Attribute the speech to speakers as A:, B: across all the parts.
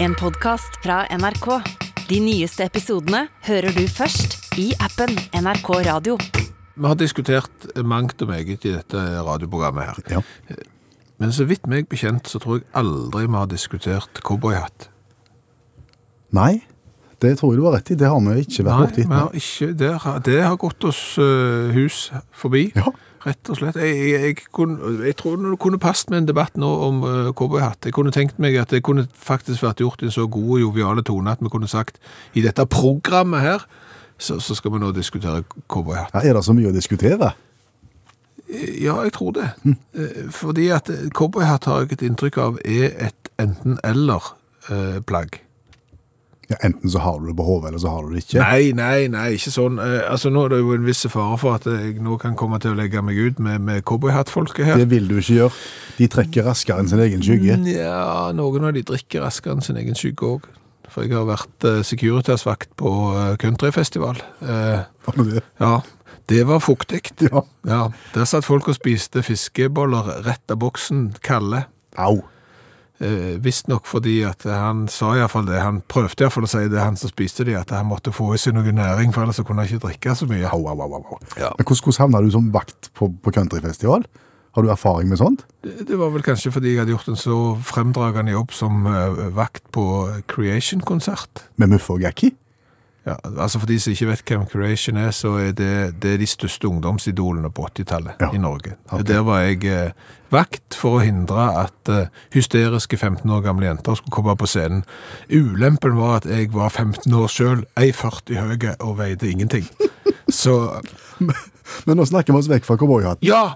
A: En podcast fra NRK. De nyeste episodene hører du først i appen NRK Radio.
B: Vi har diskutert mangt og meget i dette radioprogrammet her.
C: Ja.
B: Men så vidt meg bekjent, så tror jeg aldri vi har diskutert cowboyhatt.
C: Nei, det tror jeg du har rett i. Det har vi ikke vært borti.
B: vi har ikke, det, har, det har gått oss eh, hus forbi,
C: Ja.
B: rett og slett. Jeg, jeg, jeg, kunne, jeg tror det kunne passet med en debatt nå om eh, cowboyhatt. Jeg kunne tenkt meg at det kunne faktisk vært gjort i en så god og joviale tone at vi kunne sagt i dette programmet her, så, så skal vi nå diskutere cowboyhatt.
C: Ja, er det så mye å diskutere?
B: Ja, jeg tror det. Eh, Fordi at eh, cowboyhatt har jeg et inntrykk av er et eh, enten-eller-plagg.
C: Ja, Enten så har du det på hodet, eller så har du det ikke.
B: Nei, nei, nei, ikke sånn. Eh, Altså, nå er det jo en viss fare for at jeg nå kan komme til å legge meg ut med, med cowboyhattfolket her.
C: Det vil du ikke gjøre. De trekker raskere enn sin egen skygge.
B: Ja, noen av de drikker raskere enn sin egen skygge òg. For jeg har vært eh, Securitas-vakt på eh, countryfestival. Eh,
C: Har du det?
B: Ja, det var fuktig.
C: Ja.
B: Ja, der satt folk og spiste fiskeboller rett av boksen, kalde.
C: Au.
B: Eh, Visstnok fordi at han sa iallfall det, han prøvde iallfall å si det, han som spiste de, at han måtte få i seg noe næring, for ellers så kunne han ikke drikke så mye.
C: Au, au, au, au, au.
B: Ja.
C: Men hvordan, hvordan havna du som vakt på, på countryfestival? Har du erfaring med sånt?
B: Det, det var vel kanskje fordi jeg hadde gjort en så fremdragende jobb som eh, vakt på Creation-konsert.
C: Med Muffe og Gakki?
B: Ja, altså For de som ikke vet hvem Creation er, så er det, det er de største ungdomsidolene på 80-tallet
C: Ja.
B: i Norge.
C: Ok.
B: Der var jeg eh, vakt for å hindre at eh, hysteriske 15 år gamle jenter skulle komme på scenen. Ulempen var at jeg var 15 år sjøl, 1,40 høy og veide ingenting. Så
C: Men nå snakker vi oss vekk fra cowboyhatt.
B: Ja!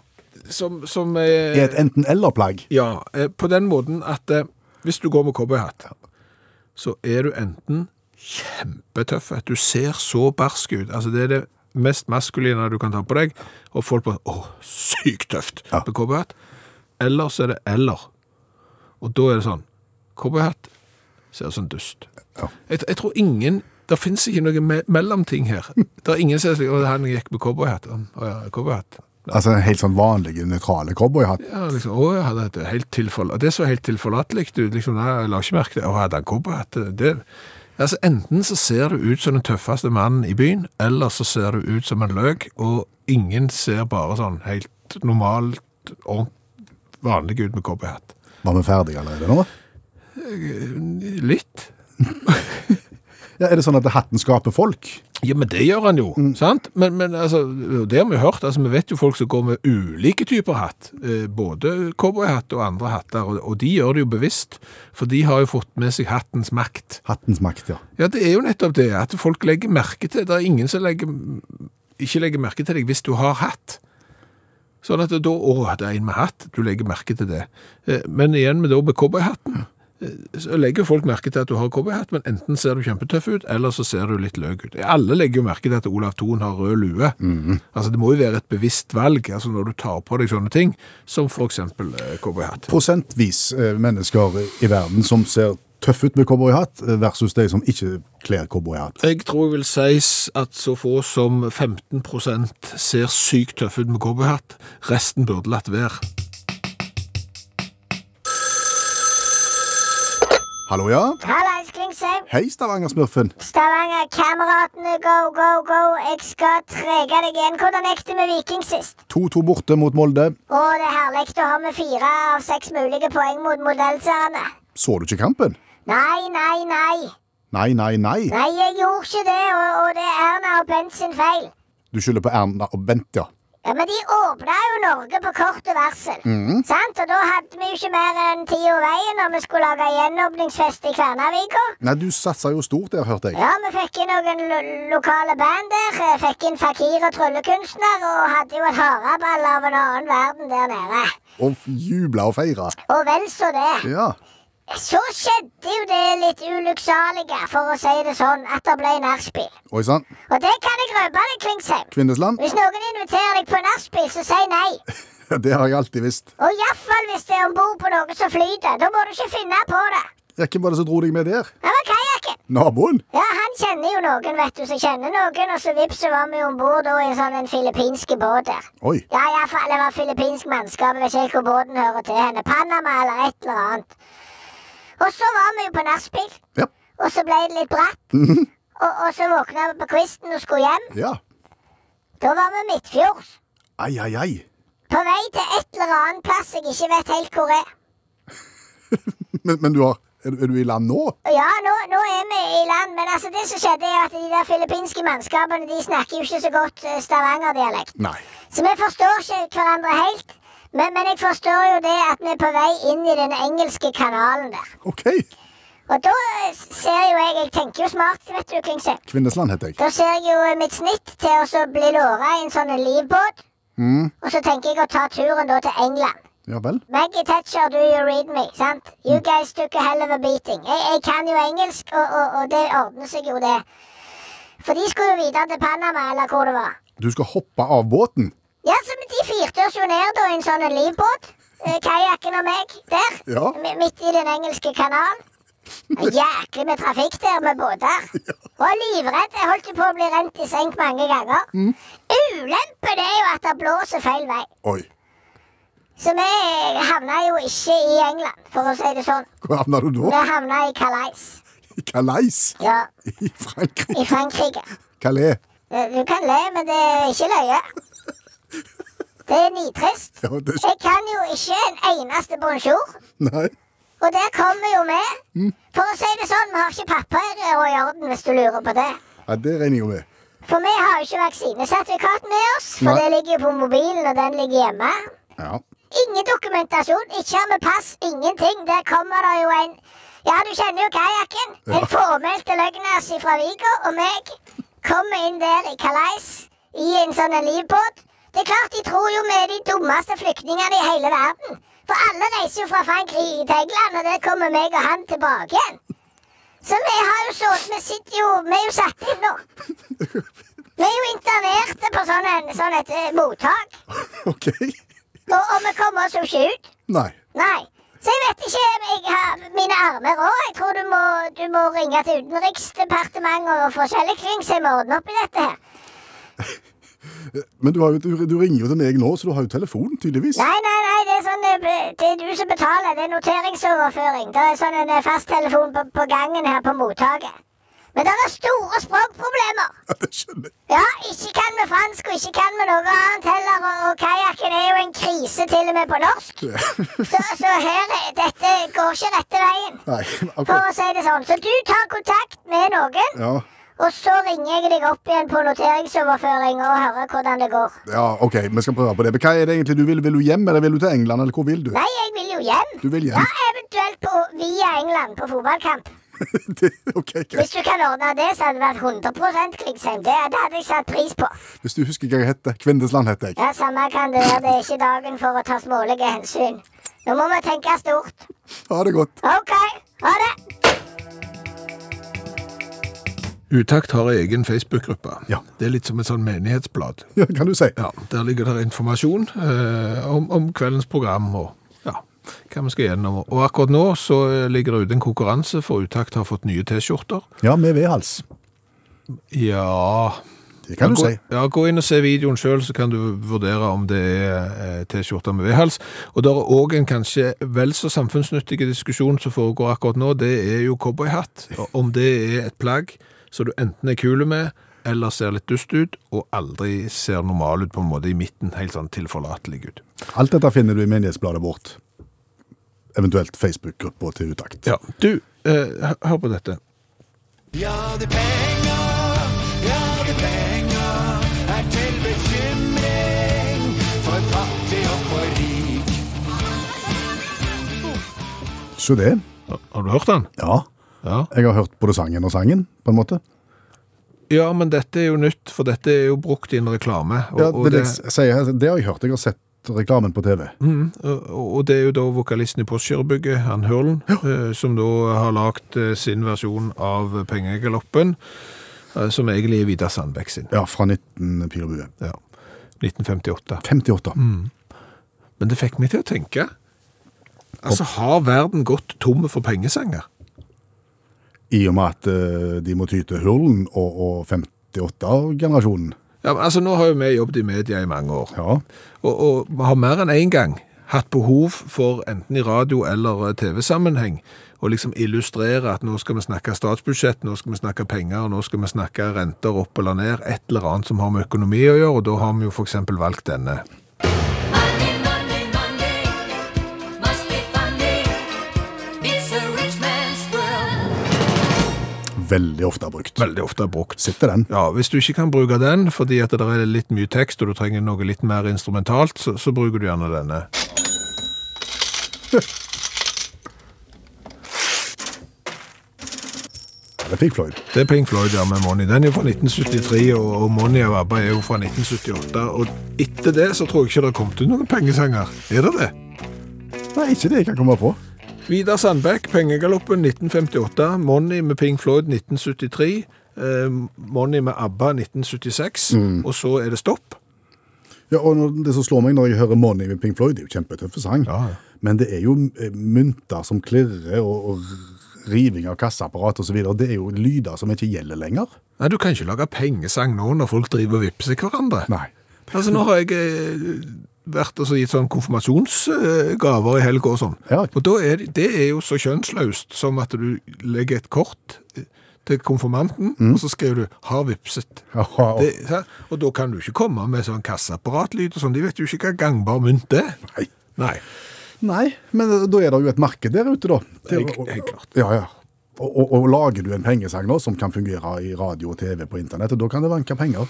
B: Som, som eh,
C: Er et enten-eller-plagg?
B: Ja, eh, på den måten at eh, hvis du går med cowboyhatt, så er du enten kjempetøff, at du ser så barsk ut, altså det er det mest maskuline du kan ta på deg, og folk bare, åh, sykt tøft
C: Ja.
B: med cowboyhatt, eller så er det eller. Og da er det sånn, cowboyhatt ser ut som en dust.
C: Ja.
B: Jeg, jeg tror ingen, det finnes ikke noe me mellomting her. Det er ingen som sier, åh, han gikk med cowboyhatt, åh ja, cowboyhatt.
C: Altså en helt sånn vanlig, nøytrale cowboyhatt?
B: Ja, liksom, å, jeg hadde et helt tilforla- Det så helt tilforlatelig ut. Liksom, nei, jeg la ikke merke til Å, hadde han cowboyhatt? Det Altså, enten så ser du ut som den tøffeste mannen i byen, eller så ser du ut som en løk, og ingen ser bare sånn helt normalt, ordent- vanlig ut med cowboyhatt.
C: Var vi ferdige allerede nå?
B: Eh, Litt.
C: Ja, Er det sånn at hatten skaper folk?
B: Ja, men det gjør han jo, sant? Men, men altså, det har vi jo hørt, altså vi vet jo folk som går med ulike typer hatt, eh, både cowboyhatt og andre hatter, og, og de gjør det jo bevisst, for de har jo fått med seg hattens makt.
C: Hattens makt, ja.
B: Ja, det er jo nettopp det, at folk legger merke til, det er ingen som legger, ikke legger merke til deg hvis du har hatt. Sånn at da, å, det er en med hatt, du legger merke til det. Eh, Men igjen med da med cowboyhatten, eh, så legger folk merke til at du har cowboyhatt, men enten ser du kjempetøff ut, eller så ser du litt løk ut. Alle legger jo merke til at Olav Thon har rød lue. Altså, det må jo være et bevisst valg, altså når du tar på deg sånne ting, som for eksempel eh, cowboyhatt.
C: prosentvis eh, mennesker i verden som ser tøff ut med cowboyhatt, eh, versus de som ikke kler cowboyhatt.
B: Jeg tror jeg vil sies at så få som 15 ser sykt tøff ut med cowboyhatt. Resten burde latt være.
C: Hallo, ja?
D: Hallais, Klingsheim.
C: Hei, Stavanger-smurfen.
D: Stavanger, kameratene, go, go, go. Jeg skal trege deg igjen. Hvordan gikk det med Viking sist?
C: 2-2 borte mot Molde.
D: Å, det er herlig. Da har vi fire av seks mulige poeng mot modellserne.
C: Så du ikke kampen?
D: Nei, nei, nei.
C: Nei, nei, nei.
D: Nei, jeg gjorde ikke det, og, og det er Erna og Bent sin feil.
C: Du skylder på Erna og Bent, ja.
D: Ja, Men de åpna jo Norge på kort varsel. Sant? Og da hadde vi jo ikke mer enn tida og veien når vi skulle lage gjenåpningsfest i Kvernavika.
C: Nei, du satsa jo stort der, hørte jeg.
D: Ja, vi fikk inn noen lo lokale band der. eh, Fikk inn fakir og tryllekunstner, og hadde jo et haraball av en annen verden der nede.
C: Og f- jubla og feira.
D: Og vel så det.
C: Ja.
D: Så skjedde jo det litt ulykksalige, for å si det sånn, at det ble nachspiel.
C: Oi sann.
D: Og det kan jeg røpe deg, Klingsheim.
C: Kvindesland.
D: Hvis noen inviterer deg på nachspiel, så si nei.
C: Det har jeg alltid visst.
D: Og iallfall hvis det er om bord på noe som flyter. Da må du ikke finne på det.
C: Ja, Hvem var det som dro deg med der?
D: Det var kajakken.
C: Naboen?
D: Ja, han kjenner jo noen, vet du, som kjenner noen, og så vips så var vi om bord i en sånn en filippinske båt der.
C: Oi.
D: Ja, iallfall det var filippinsk mannskap. Jeg vet ikke helt hvor båten hører til henne. Panama eller et eller annet. Og så var vi jo på nachspiel,
C: Ja.
D: og så ble det litt bratt. og, og så våkna vi på kvisten og skulle hjem.
C: ja.
D: Da var vi midtfjords.
C: Ai, ai, ai.
D: På vei til et eller annet plass jeg ikke vet helt hvor er.
C: Men, men du har, er, du- er du i land nå?
D: Og Ja, nå, nå er vi i land, men altså det som skjedde, er at de der filippinske mannskapene de snakker jo ikke så godt eh, stavangerdialekt.
C: Nei.
D: Så vi forstår ikke hverandre helt. Men, men jeg forstår jo det at vi er på vei inn i den engelske kanalen der.
C: OK.
D: Og da eh, ser jo jeg Jeg tenker jo smart, vet du, Klingsheim.
C: Kvinnesland heter jeg.
D: Da ser jeg jo eh, mitt snitt til å så bli låra i en sånn en livbåt. Og så tenker jeg å ta turen da til England.
C: Ja vel.
D: Maggie Thatcher, do you read me? Sant? You guys took a hell of a beating. Jeg, jeg kan jo engelsk, og, og, og det ordner seg jo, det. For de skulle jo videre til Panama, eller hvor det var.
C: Du skal hoppe av båten?
D: Ja, så men De fyrte oss jo ned da i en sånn en livbåt. eh, Kajakken og meg der.
C: Ja.
D: mi- Midt i den engelske kanalen. Og Jæklig med trafikk der med båter. Var livredd. Jeg holdt jo på å bli rent i senk mange ganger.
C: Mm.
D: Ulempen er jo at det blåser feil vei.
C: Oi.
D: Så vi havna jo ikke i England, for å si det sånn.
C: Hvor havna du
D: Vi
C: da?
D: havna i Calais.
C: I Calais?
D: Ja,
C: I Frankrike?
D: i Frankrike.
C: Calais.
D: Eh, Du kan le, men det er ikke løye. Det er nitrist.
C: Ja, det er
D: Jeg kan jo ikke en eneste bonjour.
C: Nei.
D: Og der kommer jo vi. For å si det sånn, vi har ikke papirer i orden, hvis du lurer på det.
C: Ja, det regner jeg jo med.
D: For vi har jo ikke vaksinesertifikat med oss, for
C: Nei.
D: det ligger jo på mobilen, og den ligger hjemme.
C: Ja.
D: Ingen dokumentasjon, ikke har vi pass, ingenting. Der kommer det jo en Ja, du kjenner jo kajakken. En påmeldt løgnas fra Vigo og meg kommer inn der i Calais i en sånn en livbåt. Det er klart de tror jo vi er de dummeste flyktningene i hele verden. For alle reiser jo fra Frankrike til England, og der kommer meg og han tilbake igjen. Så vi har jo sittet Vi sitter jo Vi er jo satt inn nå. Vi er jo internerte på sånn en- sånn et eh, mottak.
C: OK.
D: Og, og vi kommer oss jo ikke ut.
C: Nei.
D: Nei. Så jeg vet ikke om jeg har mine armer òg. Jeg tror du må, du må ringe til Utenriksdepartementet og forskjellig kring, så jeg må ordne opp i dette her.
C: Men du, har jo, du, du ringer jo til meg nå, så du har jo telefon, tydeligvis.
D: Nei, nei, nei, det er sånn eh, b- Det er du som betaler. Det er noteringsoverføring. Det er sånn en eh, fasttelefon på, på gangen her på mottaket. Men det er store språkproblemer.
C: Ja, det skjønner jeg.
D: Ja, ikke kan vi fransk, og ikke kan vi noe annet heller. Og, og kajakken er jo en krise til og med på norsk. Så, så her er- Dette går ikke rette veien.
C: Nei, OK.
D: For å si det sånn. Så du tar kontakt med noen,
C: Ja,
D: og så ringer jeg deg opp igjen på noteringsoverføring og hører hvordan det går.
C: ja OK, vi skal prøve på det. Men hva er det egentlig du vil? Vil du hjem, eller vil du til England, eller hvor vil du?
D: Nei, jeg vil jo hjem.
C: Du vil hjem?
D: Ja, eventuelt på, via England på fotballkamp.
C: det, OK, greit.
D: Hvis du kan ordne det, så hadde det vært 100 Klingsheim. Det, det hadde jeg satt pris på.
C: Hvis du husker hva jeg heter. Kvindesland heter jeg.
D: Ja, Samme kan det være. Det er ikke dagen for å ta smålige hensyn. Nå må vi tenke stort.
C: Ha det godt.
D: OK, ha det.
B: Utakt har egen Facebook-gruppe.
C: Ja.
B: Det er litt som et sånn menighetsblad.
C: Ja, kan du si.
B: Ja, Der ligger det informasjon eh, om, om kveldens program og ja, hva vi skal gjennom. Og akkurat nå så eh, ligger det ute en konkurranse, for Utakt har fått nye T-skjorter.
C: Ja, med vedhals.
B: Ja
C: Det kan du
B: gå,
C: si.
B: Ja, gå inn og se videoen sjøl, så kan du vurdere om det er eh, T-skjorter med vedhals. Og det er òg en kanskje vel så samfunnsnyttig diskusjon som foregår akkurat nå. Det er jo cowboyhatt. Og Om det er et plagg som du enten er kul med, eller ser litt dust ut, og aldri ser normal ut på en måte i midten. Helt sånn tilforlatelig ut.
C: Alt dette finner du i menighetsbladet vårt. Eventuelt Facebook-gruppa til utakt.
B: Ja, du, eh, hør på dette.
E: Ja, det penger, ja, det penger er til bekymring for fattig og for rik.
C: Så det.
B: Har- Har du hørt den?
C: Ja.
B: Ja.
C: Jeg har hørt både sangen og sangen, på en måte.
B: Ja, men dette er jo nytt, for dette er jo brukt i en reklame. Og,
C: Ja,
B: og
C: det, jeg sier her, det har jeg hørt. Jeg har sett reklamen på TV.
B: Mhm, og og det er jo da vokalisten i Postgirobygget, han Hørlen, eh, som da har lagt eh, sin versjon av Pengegaloppen, eh, som egentlig er Vidar Sandbæk sin.
C: Ja, fra 19 Pil og bue.
B: Ja. 1958.
C: 58.
B: Mm. Men det fikk meg til å tenke. Altså, har verden gått tom for pengesanger?
C: I og med at eh, de må ty til Hurlen og, og 58-generasjonen.
B: Ja, men altså, nå har jo vi jobbet i media i mange år.
C: Ja.
B: Og, og vi har mer enn én gang hatt behov for, enten i radio- eller eh, TV-sammenheng, og liksom illustrere at nå skal vi snakke statsbudsjett, nå skal vi snakke penger, nå skal vi snakke renter opp eller ned, et eller annet som har med økonomi å gjøre, og da har vi jo for eksempel valgt denne.
F: Money, money, money must be funny. It's a rich man's world.
C: Veldig ofte brukt.
B: Veldig ofte brukt.
C: Sitter den.
B: Ja, hvis du ikke kan bruke den, fordi at det er litt mye tekst, og du trenger noe litt mer instrumentalt, så, så bruker du gjerne denne.
C: Det fikk Floyd.
B: Det er Pink Floyd ja, med Money. Den er jo fra 1973, og, og Money og ABBA er jo fra 1978. Og etter det så tror jeg ikke det har kommet ut noen pengesanger. Er det det?
C: Nei, ikke det jeg kan komme på.
B: Vidar Sandbekk, Pengegaloppen 1958. Money med Pink Floyd 1973. Eh, Money med ABBA 1976. Og så er det stopp.
C: Ja, og når- Det som slår meg når jeg hører 'Money' med Pink Floyd, det er jo kjempetøffe sang,
B: Ja, ja.
C: men det er jo eh, mynter som klirrer, og, og riving av kasseapparat osv. Det er jo lyder som ikke gjelder lenger.
B: Nei, du kan ikke lage pengesang nå når folk driver og vipser hverandre.
C: Nei.
B: Altså, nå har jeg eh, vært og så gitt sånn konfirmasjonsgaver i helga og sånn.
C: Ja.
B: Og da er det, det er jo så kjønnsløst som at du legger et kort eh, til konfirmanten, og så skriver du 'har vipset'.
C: Aha, og-
B: Det, hæ? og da kan du ikke komme med sånn kasseapparatlyd og sånn. De vet jo ikke hva gangbar mynt er.
C: Nei.
B: Nei.
C: Nei, men eh, da er det jo et marked der ute, da.
B: Det er helt klart.
C: Ja, ja. Og, og, og lager du en pengesang nå som kan fungere i radio og TV på internett, og da kan det vanke penger.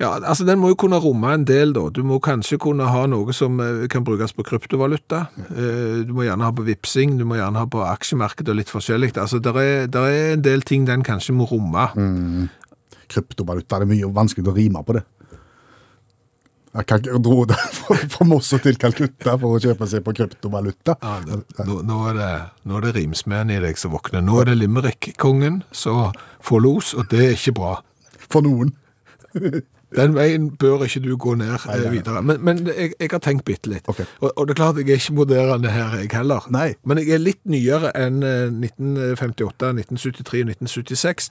B: Ja, altså Den må jo kunne romme en del, da. Du må kanskje kunne ha noe som eh, kan brukes på kryptovaluta. Eh, Du må gjerne ha på vipsing, du må gjerne ha på aksjemarkedet og litt forskjellig. Altså, der er, der er en del ting den kanskje må romme.
C: Kryptovaluta, det er mye vanskelig å rime på det. Jeg kan ikke dro det fra fra Mosso til Calcutta for å kjøpe seg på kryptovaluta.
B: Ja, nå, nå, nå er det, nå er det rimsmeden i deg som våkner. Nå er det Limerick-kongen som får los, og det er ikke bra.
C: For noen.
B: Den veien bør ikke du gå ned eh,
C: nei, nei.
B: videre. Men, men jeg, jeg har tenkt bitte litt.
C: Ok.
B: Og, og det er klart, jeg er ikke moderne her, jeg heller.
C: Nei.
B: Men jeg er litt nyere enn eh, 1958, 1973 og 1976.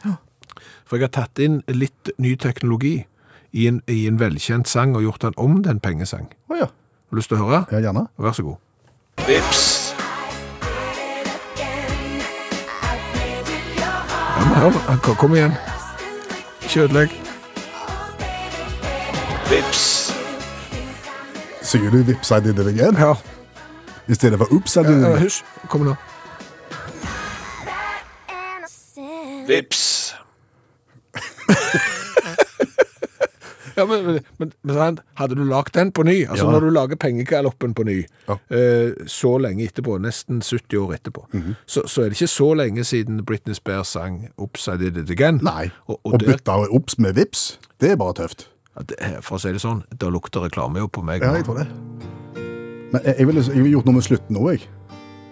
B: For jeg har tatt inn litt ny teknologi i en, i en velkjent sang og gjort den om til en pengesang.
C: Å ja.
B: Har du lyst til å høre?
C: ja. Gjerne.
B: Vær så god.
E: Vips,
B: Ja, men hør, nå. Kom- kom igjen. Ikke ødelegg.
E: vips,
C: Synger du 'Vips I did it again'
B: Ja,
C: i stedet for 'Oops I did it
B: ja,
C: again'?
B: Eh, hysj. Kom nå.
E: vips.
B: Ja, men, men, men, men sant? hadde du lagt den på ny, altså
C: Ja.
B: når du lager pengegaloppen på ny,
C: Ja.
B: eh, så lenge etterpå, nesten 70 år etterpå,
C: Mhm.
B: så, så er det ikke så lenge siden Britney Spears sang Upside It Again.
C: Nei.
B: Og, og
C: Å
B: der,
C: bytte Ops med Vips, det er bare tøft.
B: ja, det, for å si det sånn, da lukter reklame jo på meg.
C: Ja,
B: nå.
C: jeg tror det. Men jeg, jeg, ville, jeg ville gjort noe med slutten òg, jeg.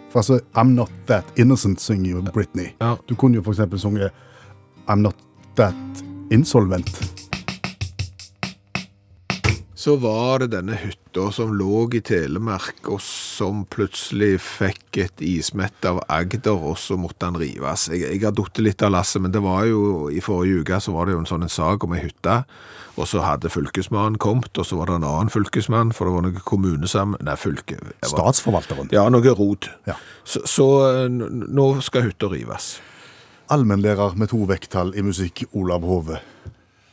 C: For altså, I'm Not That Innocent synger jo Britney.
B: Ja.
C: Du kunne jo for eksempel sunget I'm Not That Insolvent.
B: Så var det denne hytta som lå i Telemark, og som plutselig fikk et ismett av Agder, og så måtte han rives. Jeg, jeg har datt litt av lasset, men det var jo i forrige uke så var det jo en sånn en sak om ei hytte, og så hadde fylkesmannen kommet, og så var det en annen fylkesmann, for det var noe kommunesam... Nei, fylke... det var-
C: Statsforvalteren.
B: Ja, noe rot.
C: Ja.
B: Så, så eh, n- nå skal hytta rives.
C: Allmennlærer med to vekttall i musikk, Olav Hove.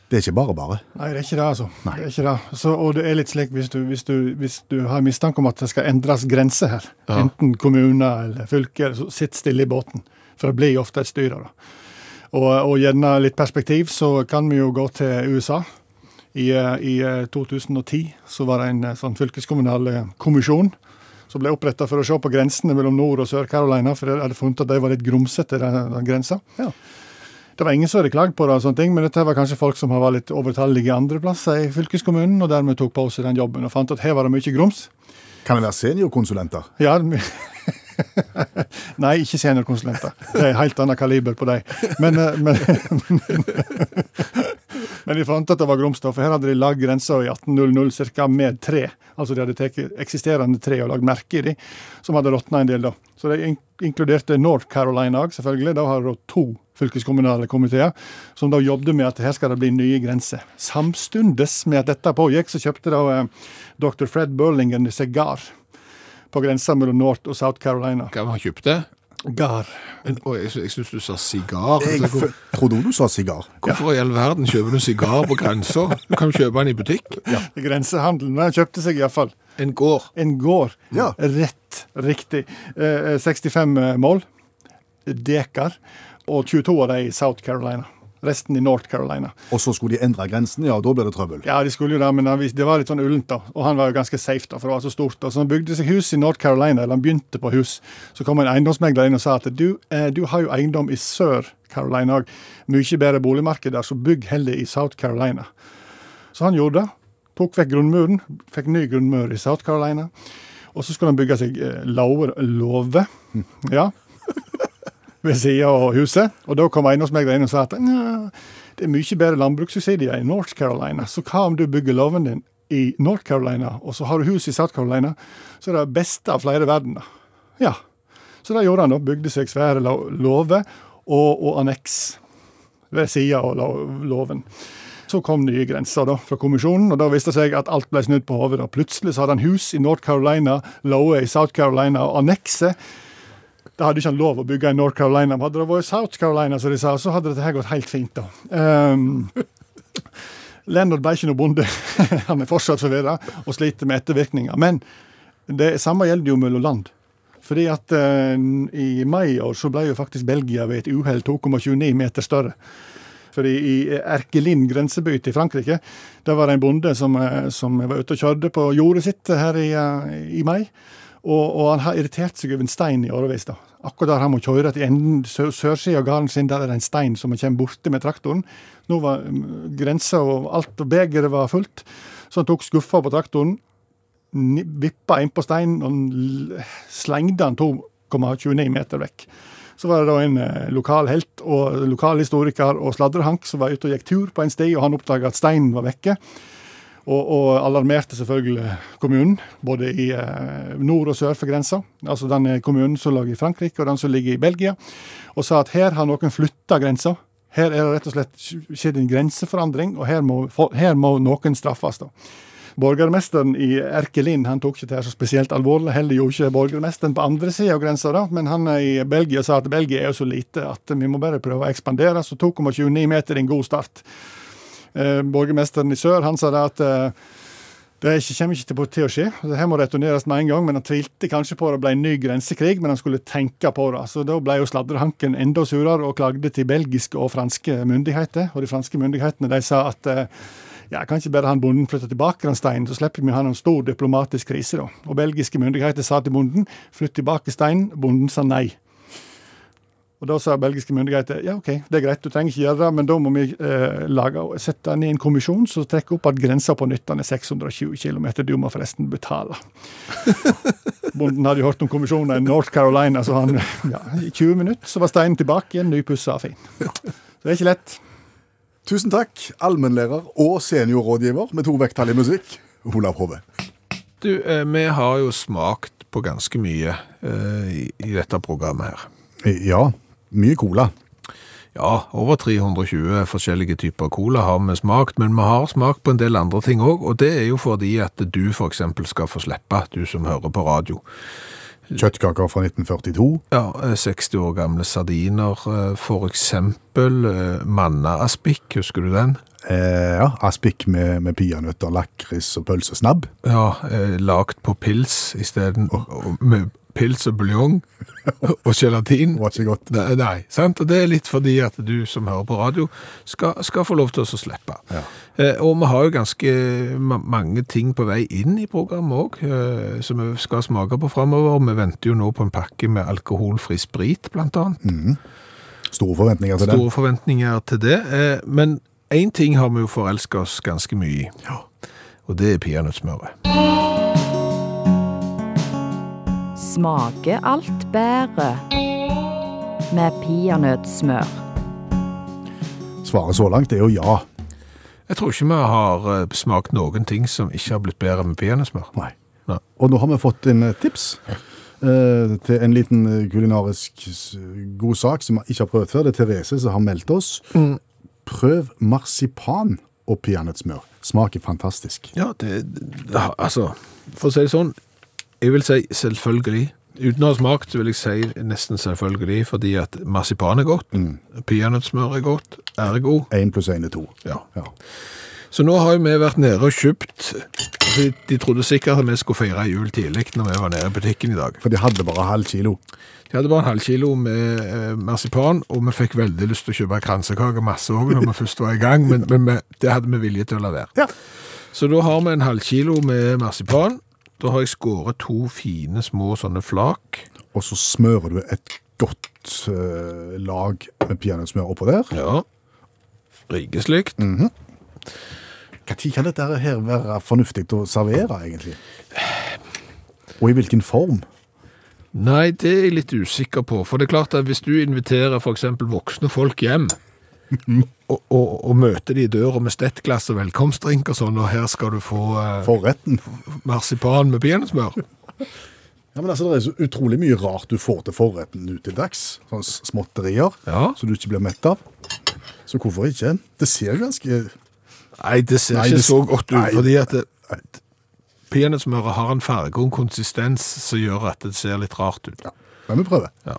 C: Det er ikke bare bare.
G: Nei, det er ikke det, altså. Det er ikke det. Så, og det er litt slik hvis du, hvis, du, hvis du har mistanke om at det skal endres grenser her, enten kommuner eller fylker, så sitt stille i båten. For det blir jo ofte et styr av det. Og, og gjerne litt perspektiv, så kan vi jo gå til USA. I, eh, I eh, 2010 så var det en eh, sånn fylkeskommunal eh, kommisjon som ble oppretta for å se på grensene mellom Nord- og Sør-Carolina, for de hadde funnet at de var litt grumsete, den, den grensa. Det var ingen som hadde klagd på det, og sånne ting, men dette var kanskje folk som var litt overtallige andre plasser i fylkeskommunen, og dermed tok på seg den jobben og fant at her var det mye grums.
C: Kan det være seniorkonsulenter?
G: Ja, my- Nei, ikke seniorkonsulenter. Det er helt annet kaliber på dem. Men, eh, men, men de fant at det var grums, da, for her hadde de lagd grensa i 1800 ca. med tre. Altså de hadde tatt eksisterende tre og lagd merke i de, som hadde råtna en del, da. Så de in- inkluderte North Carolina òg, selvfølgelig. Da har du to fylkeskommunale komiteer som da jobbet med at her skal det bli nye grenser. Samstundes med at dette pågikk, så kjøpte da eh, dr. Fred Burling en sigar på grensa mellom North og South Carolina.
B: Hva har man kjøpt det?
G: Gar.
B: En- Å, jeg, sy- jeg syns du sa sigar.
C: Jeg
B: Altså, hvor-
C: f- trodde du sa sigar.
B: Hvorfor i all verden kjøper du sigar på grensa? Du kan jo kjøpe den i butikk.
G: Grensehandelen. Men han kjøpte seg iallfall
B: En gård.
G: en gård.
C: Ja.
G: Rett riktig. Eh, 65 mål, dekar, og 22 av de i South Carolina. Resten i North Carolina.
C: Og så skulle de endre grensen, ja, da ble det trøbbel.
G: Ja, de skulle jo det, men han vis- det var litt sånn ullent, da. Og han var jo ganske safe, da, for det var så stort. da. Så han bygde seg hus i North Carolina, eller han begynte på hus. Så kom en eiendomsmegler inn og sa at du, eh, du har jo eiendom i Sør-Carolina òg. Mye bedre boligmarked der, så bygg heller i South Carolina. Så han gjorde det. Tok vekk grunnmuren. Fikk ny grunnmur i South Carolina. Og så skulle han bygge seg eh, låver- låve. Ja. Ved sida av huset. Og da kom eiendomsmegleren inn og sa at «Nja, det er mye bedre landbrukssubsidier i North Carolina, så hva om du bygger låven din i North Carolina, og så har du hus i South Carolina, så er det beste av flere verdener. Ja. Så det gjorde han, da. Bygde seg svære lå- låve og, og anneks ved sida av lå- låven. Så kom nye grenser da, fra kommisjonen, og da viste det seg at alt ble snudd på hodet. da. Plutselig så hadde han hus i North Carolina, låve i South Carolina og annekset. Da hadde ikke han lov å bygge i North Carolina, men hadde det vært South Carolina, som de sa, så hadde dette her gått helt fint, da. Um, Leonard ble ikke noe bonde. han er fortsatt forvirra og sliter med ettervirkninger. Men det samme gjelder jo mellom land. Fordi at eh, i mai i år så ble jo faktisk Belgia ved et uhell 2,29 meter større. Fordi i eh, Erkelin grenseby til Frankrike, der var det en bonde som, eh, som var ute og kjørte på jordet sitt her i, eh, i mai. Og, og han har irritert seg over en stein i årevis. da. Akkurat der han må kjøre til enden sø- sørsida av gården sin, der er det en stein som han kommer borti med traktoren. Nå var mm, grensa og alt og begeret var fullt, så han tok skuffa på traktoren, ni- vippa innpå steinen og l- slengde han 2,29 meter vekk. Så var det da en eh, lokal helt og lokalhistoriker og sladrehank som var ute og gikk tur på en sti, og han oppdaga at steinen var vekke. Og, og alarmerte selvfølgelig kommunen, både i eh, nord og sør for grensa. Altså den eh, kommunen som lå i Frankrike, og den som ligger i Belgia. Og sa at her har noen flytta grensa. Her er det rett og slett skjedd en grenseforandring, og her må, fol- her må noen straffes. da. Borgermesteren i Erkelin han tok ikke det her så spesielt alvorlig. Heller gjorde ikke borgermesteren på andre sida av grensa, da. men han i Belgia sa at Belgia er jo så lite at vi må bare prøve å ekspandere. Så 2,29 meter er en god start. Eh, borgermesteren i sør han sa det at eh, det er ikke, kommer ikke til, til å skje. Det her må returneres med en gang, men han tvilte kanskje på det ble en ny grensekrig, men han skulle tenke på det. Så da ble jo sladrehanken enda surere og klagde til belgiske og franske myndigheter. Og de franske myndighetene de sa at eh, ja, kan ikke bare han bonden flytte tilbake den steinen, så slipper vi å ha noen stor diplomatisk krise, da. Og belgiske myndigheter sa til bonden flytt tilbake steinen. Bonden sa nei. Og da sa belgiske myndigheter ja, ok, det er greit, du trenger ikke gjøre det, men da må vi eh, lage, sette ned en kommisjon som trekker opp at grensa på nytt den er 620 km. Du må forresten betale. Bonden hadde jo hørt om kommisjonen i North Carolina, så han, ja, i 20 minutter så var steinen tilbake igjen, nypussa og fin. Så det er ikke lett.
C: Tusen takk, allmennlærer og seniorrådgiver med to vekttall i musikk, Olav Hove.
B: Du, eh, vi har jo smakt på ganske mye eh, i, i dette programmet her.
C: Ja, mye cola.
B: Ja, over 320 forskjellige typer cola har vi smakt, men vi har smakt på en del andre ting òg, og det er jo fordi at du f.eks. skal få slippe, du som hører på radio.
C: Kjøttkaker fra 1942.
B: Ja, eh, 60 år gamle sardiner, eh, for eksempel eh, manna-aspikk, husker du den?
C: Eh, ja, Aspik med, med peanøtter, lakris og pølsesnabb.
B: Ja, eh, lagt på pils isteden, og- med pils og buljong og gelatin.
C: Det var ikke godt.
B: Nei, nei, sant? Og det er litt fordi at du som hører på radio skal, skal få lov til å slippe.
C: Ja.
B: Eh, og vi har jo ganske ma mange ting på vei inn i programmet òg, eh, som vi skal smake på framover. Vi venter jo nå på en pakke med alkoholfri sprit, blant annet.
C: Store forventninger til
B: Store forventninger til det. Eh, men én ting har vi jo forelska oss ganske mye i, og det er peanøttsmøret.
H: Smaker alt bedre med peanøttsmør.
C: den. Svaret så langt er jo ja.
B: Jeg tror ikke vi har eh, smakt noen ting som ikke har blitt bedre med peanøttsmør.
C: Nei.
B: Nei.
C: Og nå har vi fått en eh, tips eh, til en liten eh, kulinarisk s- god sak som vi ikke har prøvd før. Det er Therese som har meldt oss.
B: Mm.
C: Prøv marsipan og peanøttsmør. Smaker fantastisk.
B: Ja, det, det- altså For å si det sånn, jeg vil si selvfølgelig. Uten å ha smakt vil jeg si nesten selvfølgelig, fordi at marsipan er godt, peanøttsmør er godt, ergo.
C: Én pluss én er to.
B: Ja.
C: Ja.
B: Så nå har jo vi vært nede og kjøpt altså, de- De trodde sikkert at vi skulle feire jul tidlig når vi var nede i butikken i dag.
C: For de hadde bare halv kilo.
B: De hadde bare en halv kilo med eh, marsipan, og vi fikk veldig lyst til å kjøpe kransekake masse òg når vi først var i gang, men, men vi, det hadde vi vilje til å la være.
C: Ja.
B: Så da har vi en halv kilo med marsipan. Da har jeg skåret to fine små sånne flak.
C: Og så smører du et godt eh, lag med peanøttsmør oppå der.
B: Ja. Rikeslikt.
C: Når kan dette her være fornuftig å servere, egentlig? Og i hvilken form?
B: Nei, det er jeg litt usikker på. For det er klart at hvis du inviterer f.eks. voksne folk hjem, og, og, og møter de i døra med stettglass og velkomstdrink og sånn, og her skal du få eh,
C: Forretten?
B: marsipan med peanøttsmør
C: Ja, men altså, Det er så utrolig mye rart du får til forretten nå til dags. Sånne s- småtterier
B: Ja.
C: som du ikke blir mett av. Så hvorfor ikke? Det ser ganske
B: Nei, det ser
C: Nei,
B: ikke
C: det-
B: så godt ut,
C: nei.
B: fordi at det- peanøttsmøret har en farge og en konsistens som gjør at det ser litt rart ut.
C: Ja, men vi prøver.
B: Ja.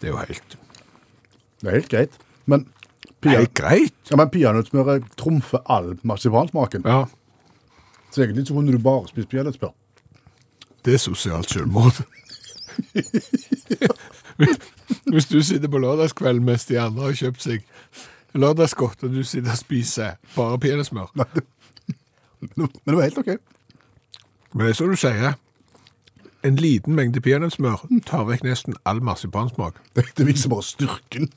B: Det er jo helt,
C: Det er helt greit. Men pia-
B: helt greit.
C: ja, men peanøttsmøret trumfer all marsipansmaken.
B: Ja,
C: Så egentlig så kunne du bare spist peanøttsmør.
B: Det er sosialt selvmord. Hvis du sitter på lørdagskveld mens de andre har kjøpt seg lørdagsgodt, og du sitter og spiser bare peanøttsmør
C: Men det var helt OK.
B: Men det er som du sier, en liten mengde peanøttsmør tar vekk nesten all marsipansmak.
C: Det, det viser bare styrken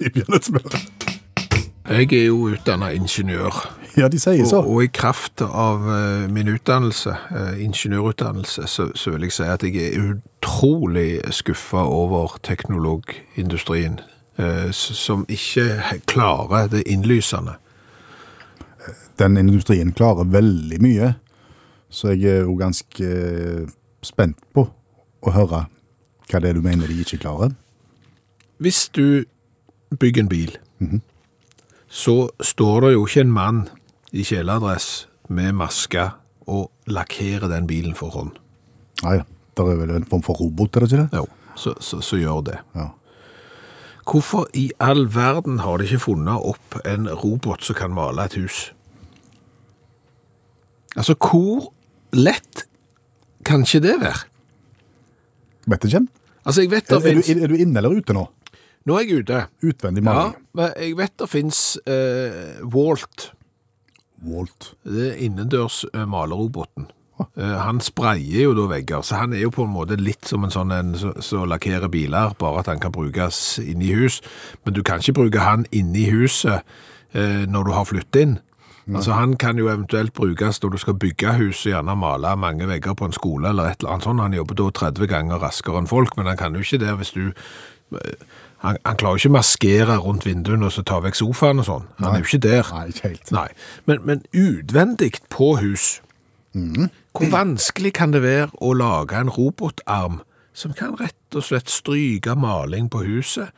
C: i peanøttsmøret.
B: Jeg er jo utdanna ingeniør,
C: Ja, de sier
B: og,
C: så.
B: og i kraft av eh, min utdannelse, eh, ingeniørutdannelse, så, så vil jeg si at jeg er utrolig skuffa over teknologindustrien, eh, s- som ikke he- klarer det innlysende.
C: Den industrien klarer veldig mye, så jeg er jo ganske eh, spent på å høre hva det er du mener de ikke klarer.
B: Hvis du bygger en bil,
C: Mhm.
B: så står det jo ikke en mann i kjeledress med maske og lakkerer den bilen for hånd.
C: Nei, det er vel en form for robot, er det ikke det?
B: Jo, så, så, så gjør det.
C: Ja.
B: Hvorfor i all verden har de ikke funnet opp en robot som kan male et hus? Altså, hvor lett kan ikke det være?
C: Vet ikke.
B: Altså, jeg vet det
C: Er, er,
B: finnes...
C: du, er du inne eller ute nå?
B: Nå er jeg ute.
C: Utvendig
B: Ja,
C: maling.
B: men jeg vet det finnes eh, Walt,
C: Walt.
B: det er innendørs eh, maleroboten. Eh, han sprayer jo da vegger, så han er jo på en måte litt som en sånn en som som lakkerer biler, bare at han kan brukes inne i hus. Men du kan ikke bruke han inne i huset eh, når du har flyttet inn. Altså Han kan jo eventuelt brukes når du skal bygge hus, og gjerne male mange vegger på en skole eller et eller annet sånt. Han jobber da 30 ganger raskere enn folk, men han kan jo ikke det hvis du han, han klarer jo ikke å maskere rundt vinduene og så ta vekk sofaen og sånn. Han er jo ikke der.
C: Nei, ikke helt.
B: Nei, men, men utvendig på hus.
C: Mhm.
B: Hvor vanskelig kan det være å lage en robotarm som kan rett og slett stryke maling på huset?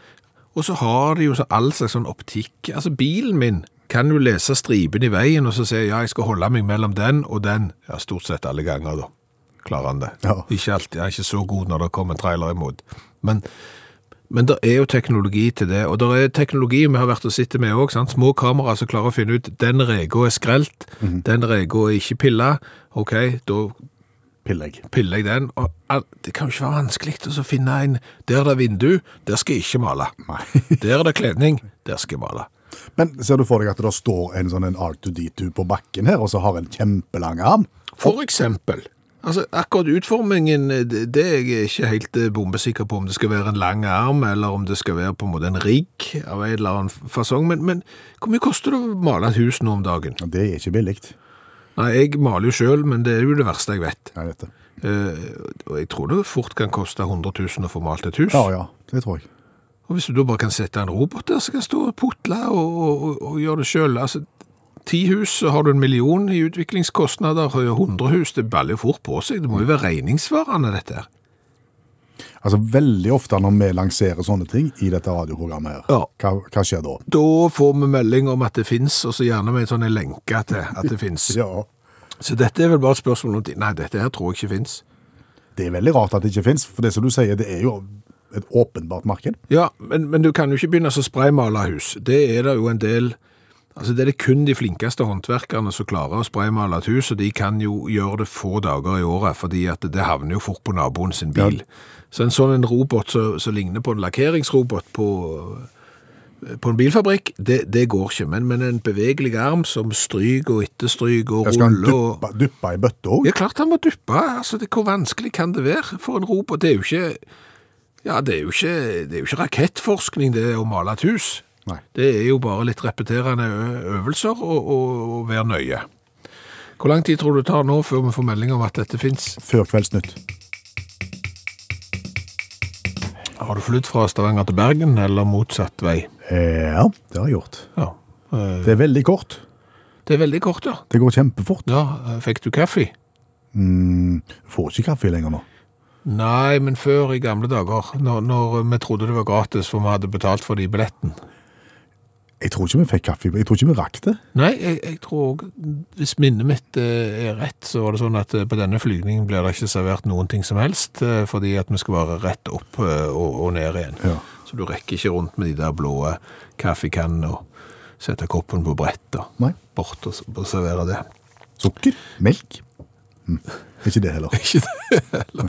B: Og så har de jo så all slags sånn optikk. Altså, bilen min kan jo lese stripen i veien og så si ja, jeg skal holde meg mellom den og den. Ja, stort sett alle ganger, da. Klarer han det.
C: Ja.
B: Ikke alltid. Han er ikke så god når det kommer en trailer imot. Men men det er jo teknologi til det, og det er teknologi vi har vært og sittet med òg. Små kameraer som klarer å finne ut den reka er skrelt, den reka er ikke pilla. OK, da
C: Pillegg.
B: piller jeg den. Og al- det kan jo ikke være vanskelig å så finne en Der det er vindu, der skal jeg ikke male. Der det er kledning, der skal jeg male.
C: Men ser du for deg at det da står en sånn en R2D2 på bakken her, og så har en kjempelang arm?
B: For eksempel. Altså, akkurat utformingen, det det er jeg ikke helt eh, bombesikker på om det skal være en lang arm, eller om det skal være på en måte en rigg av en eller annen fasong. Men, men hvor mye koster det å male et hus nå om dagen?
C: Ja, Det er ikke billig.
B: Nei, jeg maler jo sjøl, men det er jo det verste jeg vet.
C: Jeg vet det.
B: Eh, og jeg tror det fort kan koste 100 000 å få malt et hus.
C: Ja, ja, det tror jeg.
B: Og hvis du da bare kan sette en robot der som kan stå og putle og, og, og, og gjøre det sjøl altså, Ti hus, så har du en million i utviklingskostnader. og 100 hus, det baller jo fort på seg. Det må jo være regningssvarende, dette her.
C: Altså Veldig ofte når vi lanserer sånne ting i dette radioprogrammet, her,
B: Ja.
C: hva, hva skjer da?
B: Da får vi melding om at det fins, og så gjerne med en sånn lenke til at det fins.
C: Ja,
B: Så dette er vel bare et spørsmål om tid. Nei, dette her tror jeg ikke fins.
C: Det er veldig rart at det ikke finnes, for det som du sier, det er jo et åpenbart marked.
B: Ja, men, men du kan jo ikke begynne å spraymale hus. Det er det jo en del Altså, det er det kun de flinkeste håndverkerne som klarer å spraymale et hus, og de kan jo gjøre det få dager i året, fordi at det havner jo fort på naboen sin bil. Så en sånn en robot som som ligner på en lakkeringsrobot på, på en bilfabrikk, det, det går ikke. Men, men en bevegelig arm som stryker og etterstryker og
C: Jeg skal han
B: ruller og
C: duppe, duppe i bøtte òg?
B: ja, klart han må duppe. Altså, det, hvor vanskelig kan det være for en robot? Det er jo ikke, ja, det er jo ikke, det er jo ikke rakettforskning det å male et hus.
C: Nei.
B: Det er jo bare litt repeterende ø- øvelser og, og, og være nøye. Hvor lang tid tror du det tar nå før vi får melding om at dette finnes?
C: Før Kveldsnytt.
B: Har du flytt fra Stavanger til Bergen, eller motsatt vei?
C: Ja, det har jeg gjort.
B: Ja. Eh,
C: Det er veldig kort.
B: Det er veldig kort, ja.
C: Det går kjempefort.
B: Ja, eh, fikk du kaffe?
C: Mm, får ikke kaffe lenger nå.
B: Nei, men før i gamle dager, når, når vi trodde det var gratis, for vi hadde betalt for det i billetten.
C: Jeg tror ikke vi fikk kaffe. Jeg tror ikke vi rakk det.
B: Nei, jeg, jeg tror også, hvis minnet mitt eh, er rett, så var det sånn at eh, på denne flygningen blir det ikke servert noen ting som helst, eh, fordi at vi skal være rett opp eh, og, og ned igjen.
C: Ja.
B: Så du rekker ikke rundt med de der blå eh, kaffekannene og sette koppen på brett og
C: Nei.
B: bort og, s- og servere det.
C: Sukker? Melk? Mm. Ikke det heller.
B: Ikke det heller.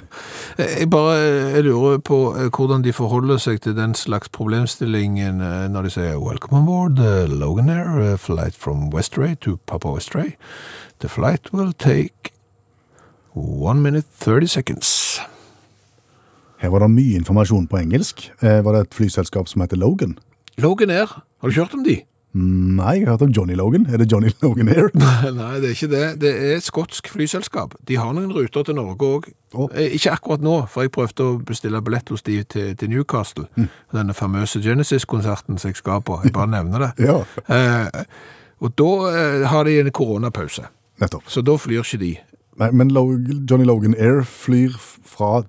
B: Jeg bare jeg lurer på eh, hvordan de forholder seg til den slags problemstillingen eh, når de sier «Welcome on board, eh, Logan Air, eh, flight from Westray to Papa Westray. The flight will take 1 minute 30 seconds».
C: Her var det mye informasjon på engelsk. Eh, var det et flyselskap som heter Logan?
B: Logan Air, har du kjørt om de?
C: Nei, jeg har hørt om Johnny Logan. Er det Johnny Logan Air?
B: Nei, det er ikke det. Det er et skotsk flyselskap. De har noen ruter til Norge òg.
C: Å.
B: Ikke akkurat nå, for jeg prøvde å bestille billett hos de til, til Newcastle.
C: Mm.
B: Denne famøse Genesis-konserten som jeg skal på. Jeg bare nevner det.
C: Ja,
B: Eh, og da eh, har de en koronapause,
C: nettopp.
B: så da flyr ikke de.
C: Nei, men Lo Johnny Logan Air flyr f- fra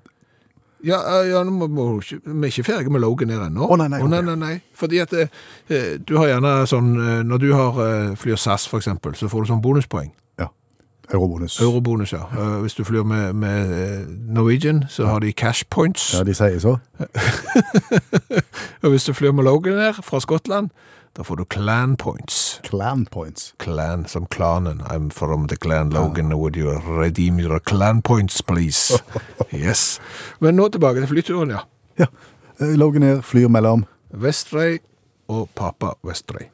B: Ja, eh, ja nå må, må, ikke- Vi er ikke ferdige med Logan her ennå.
C: Å, nei, nei,
B: Å, nei,
C: ok.
B: nei, nei. Fordi at eh, eh, du har gjerne sånn eh, Når du har, eh, flyr SAS, for eksempel, så får du sånn bonuspoeng.
C: ja, Eurobonus.
B: Eurobonus, ja. Eh, hvis du flyr med, med eh, Norwegian, så har de cash points.
C: Ja, de sier så.
B: Og hvis du flyr med Logan her fra Skottland, da får du clan points.
C: Clan points.
B: Clan som klanen. I'm from the clan Logan. Would you redeem your clan points, please? Yes. Men nå tilbake til flyturen, ja.
C: Ja. Eh, Logan Air flyr mellom
B: Vestray og Papa Vestray.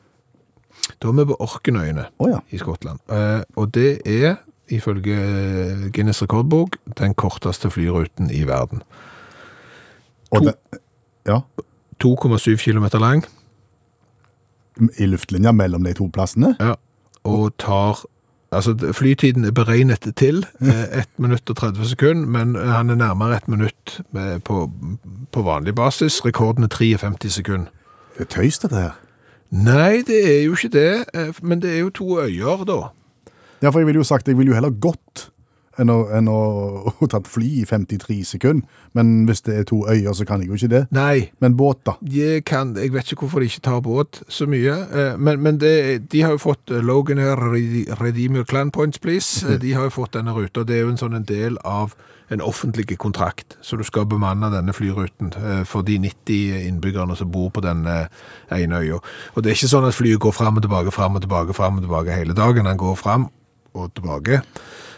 B: Da er vi på Orkenøyene
C: Å ja.
B: i Skottland. Eh, og det er, ifølge eh, Guinness rekordbok, den korteste flyruten i verden.
C: og
B: To.
C: den- Ja.
B: 2,7 km lang
C: I luftlinja mellom de to plassene.
B: ja, og tar Altså, det- flytiden er beregnet til 1 minutt og 30 sekund, men eh, han er nærmere 1 minutt med, på, på vanlig basis. Rekorden er 53 sekund.
C: Det er tøys, dette her.
B: Nei, det er jo ikke det, eh, men det er jo to øyer, da.
C: Ja, for jeg ville jo sagt jeg ville jo heller gått enn å, enn å, å ta et fly i 53 sekunder. Men hvis det er to øyer, så kan jeg jo ikke det.
B: Nei,
C: Men båt, da.
B: jeg, kan, jeg vet ikke hvorfor de ikke tar båt så mye, eh, men, men det, de har jo fått eh, Logan her, Rede- Redeem your clan points please, Eh, de har jo fått denne ruta, det er jo en sånn en del av en offentlig kontrakt, så du skal bemanne denne flyruten eh, for de 90 innbyggerne som bor på denne eh, ene øya. Og det er ikke sånn at flyet går frem og tilbake, frem og tilbake, frem og tilbake hele dagen, han går frem og tilbake,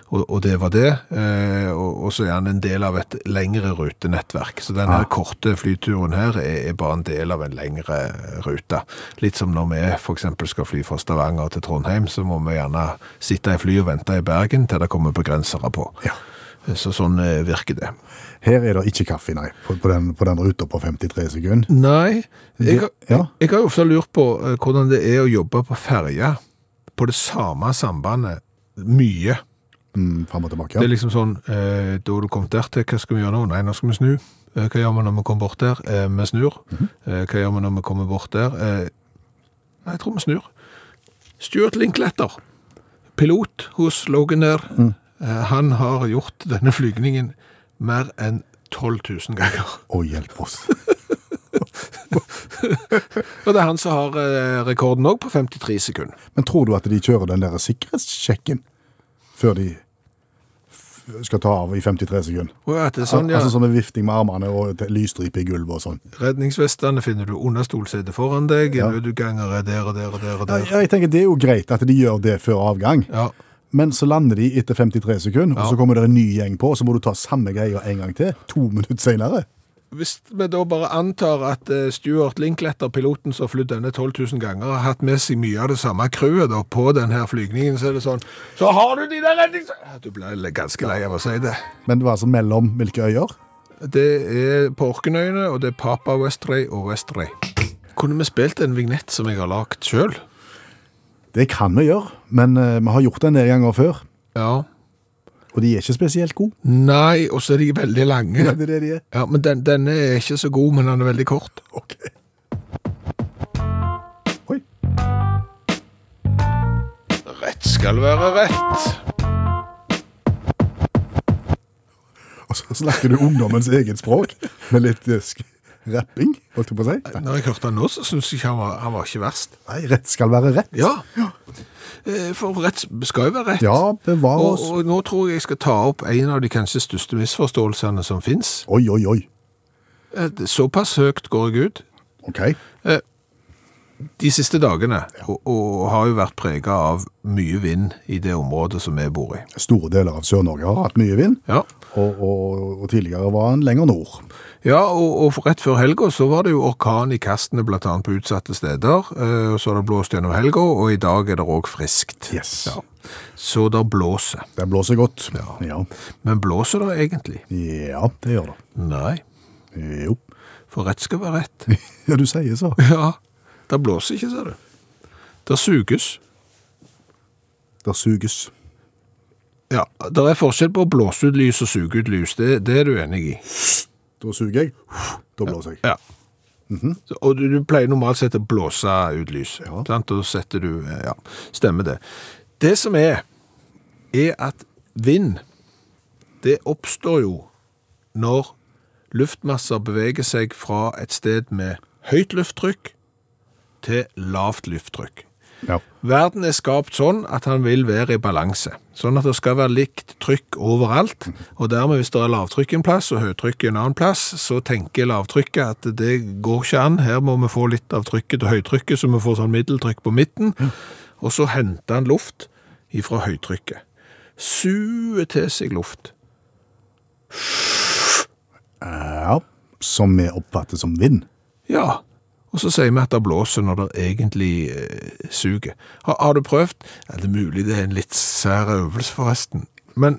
B: og, og det var det, eh, og, og så er han en del av et lengre rutenettverk, så denne korte flyturen her er, er bare en del av en lengre rute. Litt som når vi for eksempel skal fly fra Stavanger til Trondheim, så må vi gjerne sitte i fly og vente i Bergen til det kommer begrensere på. Så sånn eh, virker det.
C: Her er det ikke kaffe, nei, på, på, den, på den ruta på 53 sekunder.
B: Nei, jeg, har-
C: Det- ja.
B: jeg har jo ofte lurt på eh, hvordan det er å jobbe på ferja på det samme sambandet mye.
C: Mm, Fram og tilbake.
B: Det er
C: Ja.
B: liksom sånn, eh, da du kom der til, hva skal vi gjøre nå? Nei, nå skal vi snu. Eh, hva gjør vi når vi kommer bort der? Eh, vi snur.
C: Mhm.
B: eh, hva gjør vi når vi kommer bort der? Eh, nei, jeg tror vi snur. Stuart Linkletter, pilot hos Logan der,
C: Mm.
B: eh, han har gjort denne flygningen mer enn 12 000 ganger.
C: Å, hjelp oss.
B: Og det er han som har eh, rekorden også på 53 sekunder.
C: Men tror du at de kjører den der sikkerhetssjekken? før de f- skal ta av i 53 sekunder.
B: Og at det er sånn, ja.
C: Altså sånn med vifting med armene og te- lysstripe i gulvet og sånn.
B: Redningsvestene finner du under stolsetet foran deg, nødutganger er der og der og der og
C: Ja,
B: der.
C: jeg tenker Det er jo greit at de gjør det før avgang,
B: Ja.
C: men så lander de etter 53 sekunder,
B: Ja.
C: og så kommer det en ny gjeng på, og så må du ta samme greia en gang til, to minutter senere.
B: Hvis vi da bare antar at eh, Stuart Linkletter, piloten som har flydd denne 12 000 ganger, har hatt med seg mye av det samme crewet da, på denne her flygningen, så er det sånn Så har du de der rednings... Ja, Du ble ganske lei av å si det.
C: Men det var altså mellom hvilke øyer?
B: Det er på Orkenøyene, og det er Papa Westray og Westray. Kunne vi spilt en vignett som jeg har lagd sjøl?
C: Det kan vi gjøre, men eh, vi har gjort det en del ganger før,
B: Ja.
C: og de er ikke spesielt gode.
B: Nei, og så er de veldig lange.
C: Ja, det er det de er.
B: Ja, men den, denne er ikke så god, men den er veldig kort.
C: Ok. Oi.
B: Rett skal være rett.
C: Og så Altså, snakker du ungdommens eget språk med litt eh, sk- rapping, holdt jeg på å si.
B: Når jeg hørte han nå, så syns jeg ikke han var, han var ikke verst.
C: Nei, rett skal være rett.
B: Ja. Eh, For rett skal jo være rett.
C: Ja, altså. bevare
B: Og,
C: oss.
B: og nå tror jeg jeg skal ta opp en av de kanskje største misforståelsene som fins.
C: Oi, oi, oi.
B: Såpass høyt går jeg ut. Eh,
C: Ok.
B: De siste dagene, og, og har jo vært prega av mye vind i det området som vi bor i.
C: Store deler av Sør-Norge har hatt mye vind,
B: Ja,
C: og, og, og tidligere var han lenger nord.
B: ja og, og rett før helga så var det jo orkan i kastene, blant annet på utsatte steder. eh, Og så har det blåst gjennom helga, og i dag er det òg friskt.
C: Yes.
B: Ja. Så det blåser.
C: Det blåser godt. Ja.
B: Men blåser det egentlig?
C: Ja, det gjør det.
B: Nei,
C: Jo.
B: for rett skal være rett.
C: Ja, du sier så.
B: Ja, det blåser ikke, ser du. Det suges.
C: Det suges.
B: Ja, det er forskjell på å blåse ut lys og suge ut lys. Det, det er du enig i.
C: Da suger jeg. Da blåser jeg.
B: Ja. Så- Og du, du pleier normalt sett å blåse ut lys. Sant? Og setter du Ja, stemmer det. Det som er, er at vind, det oppstår jo når luftmasser beveger seg fra et sted med høyt lufttrykk til lavt lufttrykk.
C: Ja.
B: Verden er skapt sånn at han vil være i balanse. Sånn at det skal være likt trykk overalt. Og dermed, hvis det er lavtrykk en plass og høytrykk en annen plass, så tenker lavtrykket at det går ikke an. Her må vi få litt av trykket til høytrykket, så vi får sånn middeltrykk på midten. Og så henter han luft ifra høytrykket. Suer til seg luft.
C: ja. Som vi oppfatter som vind.
B: Ja. Og så sier vi at det blåser når det egentlig eh, suger. Har, har du prøvd? Ja, det er mulig det er en litt sær øvelse, forresten. Men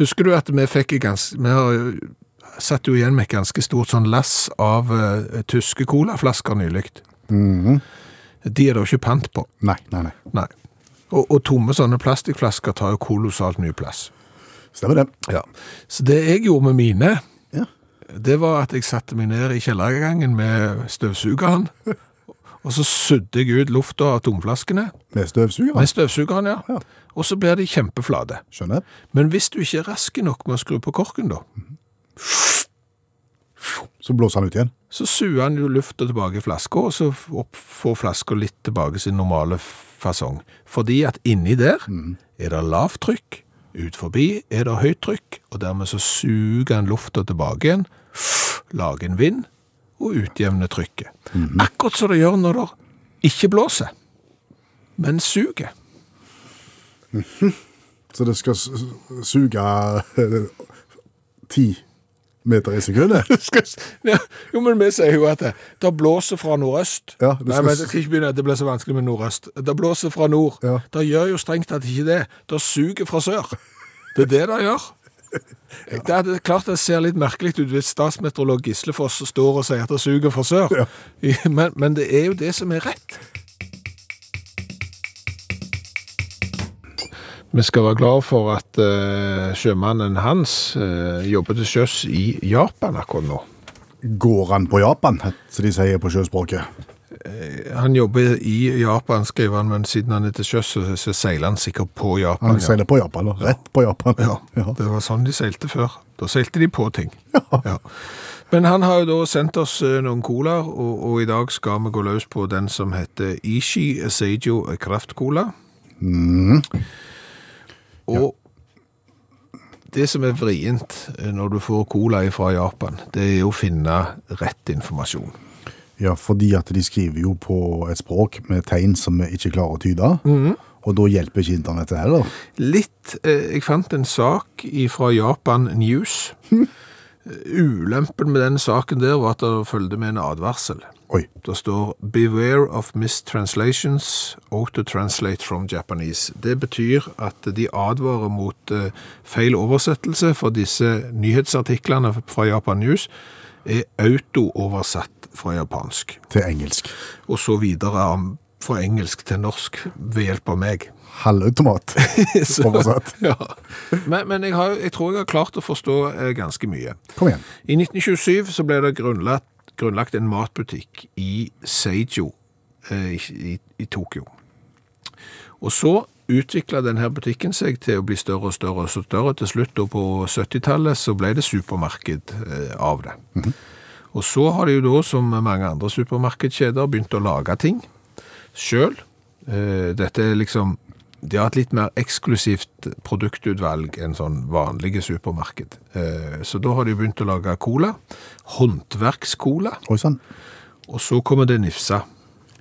B: husker du at vi fikk en ganske Vi har jo satt jo igjen med et ganske stort sånn lass av eh, tyske colaflasker nylig. De er det jo ikke pant på.
C: Nei, nei, nei.
B: Nei. Og, og tomme sånne plastikkflasker tar jo kolossalt mye plass.
C: Stemmer det.
B: Ja. Så det jeg gjorde med mine,
C: Ja.
B: det var at jeg satte meg ned i kjellergangen med støvsugeren, og så sudde jeg ut lufta av tomflaskene.
C: Med støvsugere.
B: Med støvsugeren, ja.
C: Ja.
B: Og så blir de kjempeflate.
C: Skjønner.
B: Men hvis du ikke er raske nok med å skru på korken, da,
C: Så blåser han ut igjen.
B: så suger han jo lufta tilbake i flaska, og så opp, får flaska litt tilbake sin normale f- fasong. Fordi at inni der er det lavt trykk, ut forbi er det høyt trykk, og dermed så suger han lufta tilbake igjen, lager en vind, og utjevner trykket. Akkurat som det gjør når det ikke blåser, men suger.
C: Så det skal su- suge eh, ti meter i sekundet.
B: skal, ja, jo, men vi sier jo at det, det blåser fra nordøst.
C: Ja, det
B: Nei,
C: skal-
B: men det skal ikke begynne at det blir så vanskelig med nordøst. Det blåser fra nord.
C: Ja.
B: Det gjør jo strengt tatt ikke det. Det suger fra sør. Det er det det gjør. Det er det- klart det ser litt merkelig ut hvis statsmeteorolog Gislefoss står og sier at det suger fra sør. Men, men det er jo det som er rett. Vi skal være glad for at eh, sjømannen hans eh, jobber til sjøs i Japan akkurat nå.
C: Går han på Japan, som de sier på sjøspråket.
B: Han jobber i Japan, skriver han, men siden han er til sjøs, så, så seiler han sikkert på Japan.
C: Han
B: ja.
C: seiler på Japan, og rett på Japan.
B: Ja,
C: Ja.
B: det var sånn de seilte før. Da seilte de på ting. Ja. Men han har jo da sendt oss eh, noen colaer, og, og i dag skal vi gå løs på den
C: Mm.
B: som heter Ishi Seijo Kraftcola. Og det som er vrient eh, når du får cola fra Japan, det er å finne rett informasjon.
C: Ja, fordi at de skriver jo på et språk med tegn som vi ikke klarer å tyde. Og da hjelper ikke internettet heller.
B: Litt eh, Jeg fant en sak fra Japan News. Ulempen med den saken der var at det fulgte med en advarsel.
C: Oi.
B: Det står 'Beware of mistranslations, auto-translate from Japanese'. Det betyr at de advarer mot eh, feil oversettelse, for disse nyhetsartiklene fra Japan News er auto-oversatt fra japansk.
C: Til engelsk.
B: Og så videre om- fra engelsk til norsk ved hjelp av meg.
C: Halvautomat.
B: Så-
C: Oversatt.
B: Ja. Men, men jeg, har, jeg tror jeg har klart å forstå eh, ganske mye.
C: Kom igjen.
B: I 1927 så ble det grunnlagt, grunnlagt en matbutikk i Seijo eh, i, i, i Tokyo. Og så utviklet denne butikken seg til å bli større og større og større. Til slutt da på 70-tallet så ble det supermarked eh, av det. Og så har de jo da, som mange andre supermarkedkjeder, begynt å lage ting sjøl. Dette er liksom De har et litt mer eksklusivt produktutvalg enn sånn vanlige supermarked. Eh, Så da har de begynt å lage cola. Håndverkscola.
C: Oi sånn. sann.
B: Og så kommer det nifsa.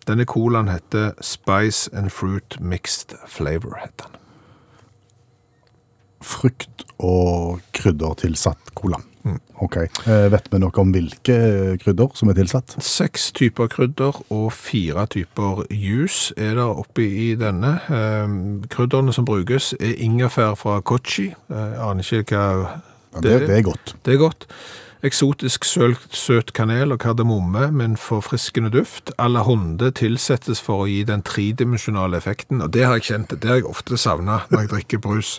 B: Denne colaen heter Spice and Fruit Mixed Flavor. heter den.
C: Frukt og krydder tilsatt cola.
B: Mm.
C: Ok. Eh, vet vi noe om hvilke eh, krydder som er tilsatt?
B: Seks typer krydder og fire typer juice er der oppe i denne. Eh, Krydderne som brukes er ingefær fra Kochi. Eh, Aner ikke hva
C: Ja, det, det er godt.
B: Det er godt. Eksotisk søl, søt kanel og kardemomme med en forfriskende duft. Alle hånde tilsettes for å gi den tredimensjonale effekten, og det har jeg kjent, det har jeg ofte savnet når jeg drikker brus.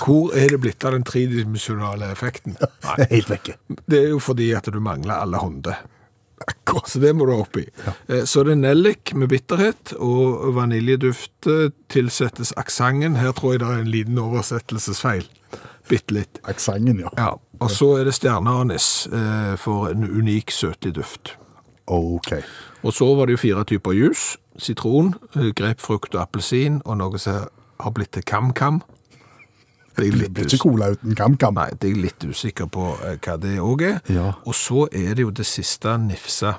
B: Hvor er det blitt av den tredimensjonale effekten? Nei,
C: Helt vekke.
B: det er jo fordi at du mangler alle hånde. Så det må du opp i. Eh, Så det er nellik med bitterhet, og vaniljeduft eh, tilsettes aksangen. Her tror jeg det er en liten oversettelsesfeil. Bitte litt.
C: Aksenten, ja.
B: Ja, og så er det stjerneanis eh, for en unik søtlig duft.
C: Ok.
B: Og så var det jo fire typer jus. Sitron, eh, grepfrukt og appelsin, og noe som har blitt til kam-kam. Det er jeg
C: Det
B: litt,
C: blir ikke
B: us
C: cola uten kam-kam.
B: Nei, det er jeg litt usikker på eh, hva det òg er.
C: Ja.
B: Og så er det jo det siste nifsa.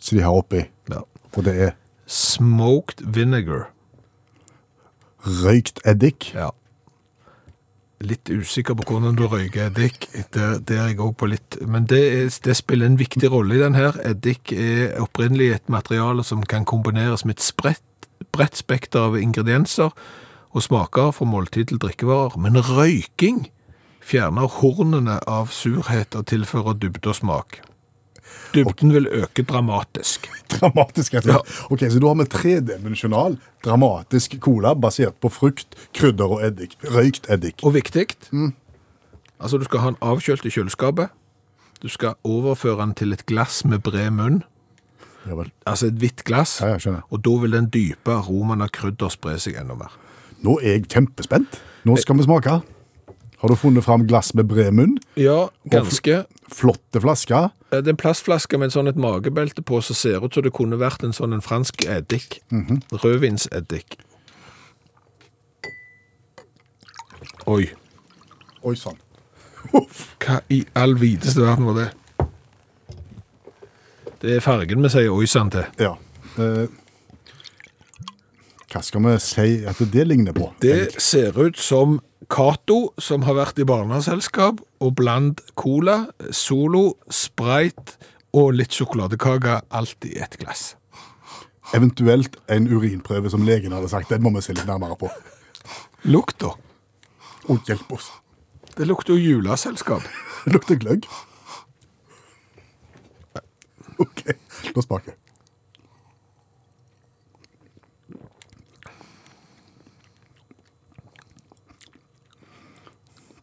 C: Så de har oppi.
B: Ja.
C: Og det er
B: Smoked vinegar.
C: røykt eddik.
B: Ja. Litt usikker på hvordan du røyker eddik. Det, det er jeg også på litt. Men det, er, det spiller en viktig rolle i den her. Eddik er opprinnelig et materiale som kan kombineres med et spredt, bredt spekter av ingredienser og smaker fra måltid til drikkevarer. Men røyking fjerner hornene av surhet og tilfører dybde og smak. Dybden vil øke dramatisk.
C: Dramatisk. rett og slett. Ok, Så da har vi tredimensjonal, dramatisk cola basert på frukt, krydder og eddik. Røykt eddik.
B: Og viktig
C: Mm.
B: Altså, du skal ha den avkjølt i kjøleskapet. Du skal overføre den til et glass med bred munn.
C: Ja vel.
B: Altså et hvitt glass.
C: Ja, ja, skjønner.
B: Og da vil den dype aromaen av krydder spre seg enda mer.
C: Nå er jeg kjempespent. Nå skal vi smake. Har du funnet fram glass med bred munn?
B: Ja, ganske.
C: Flotte flasker.
B: Eh, Det er en plastflaske med en sånn et magebelte på som ser ut som det kunne vært en sånn en fransk eddik.
C: Mhm.
B: Rødvinseddik. Oi,
C: Oi sann.
B: hva i all videste verden var det? Det er fargen vi sier oi sann til.
C: Ja. Eh, hva skal vi si at det ligner på?
B: Det ser ut som Cato, som har vært i barneselskap, og bland cola, Solo, Sprite og litt sjokoladekake, alt i ett glass.
C: Eventuelt en urinprøve som legen hadde sagt. Den må vi se litt nærmere på.
B: Lukta.
C: Å, hjelp oss.
B: Det lukter jo juleselskap.
C: Det lukter gløgg. OK, la oss smake.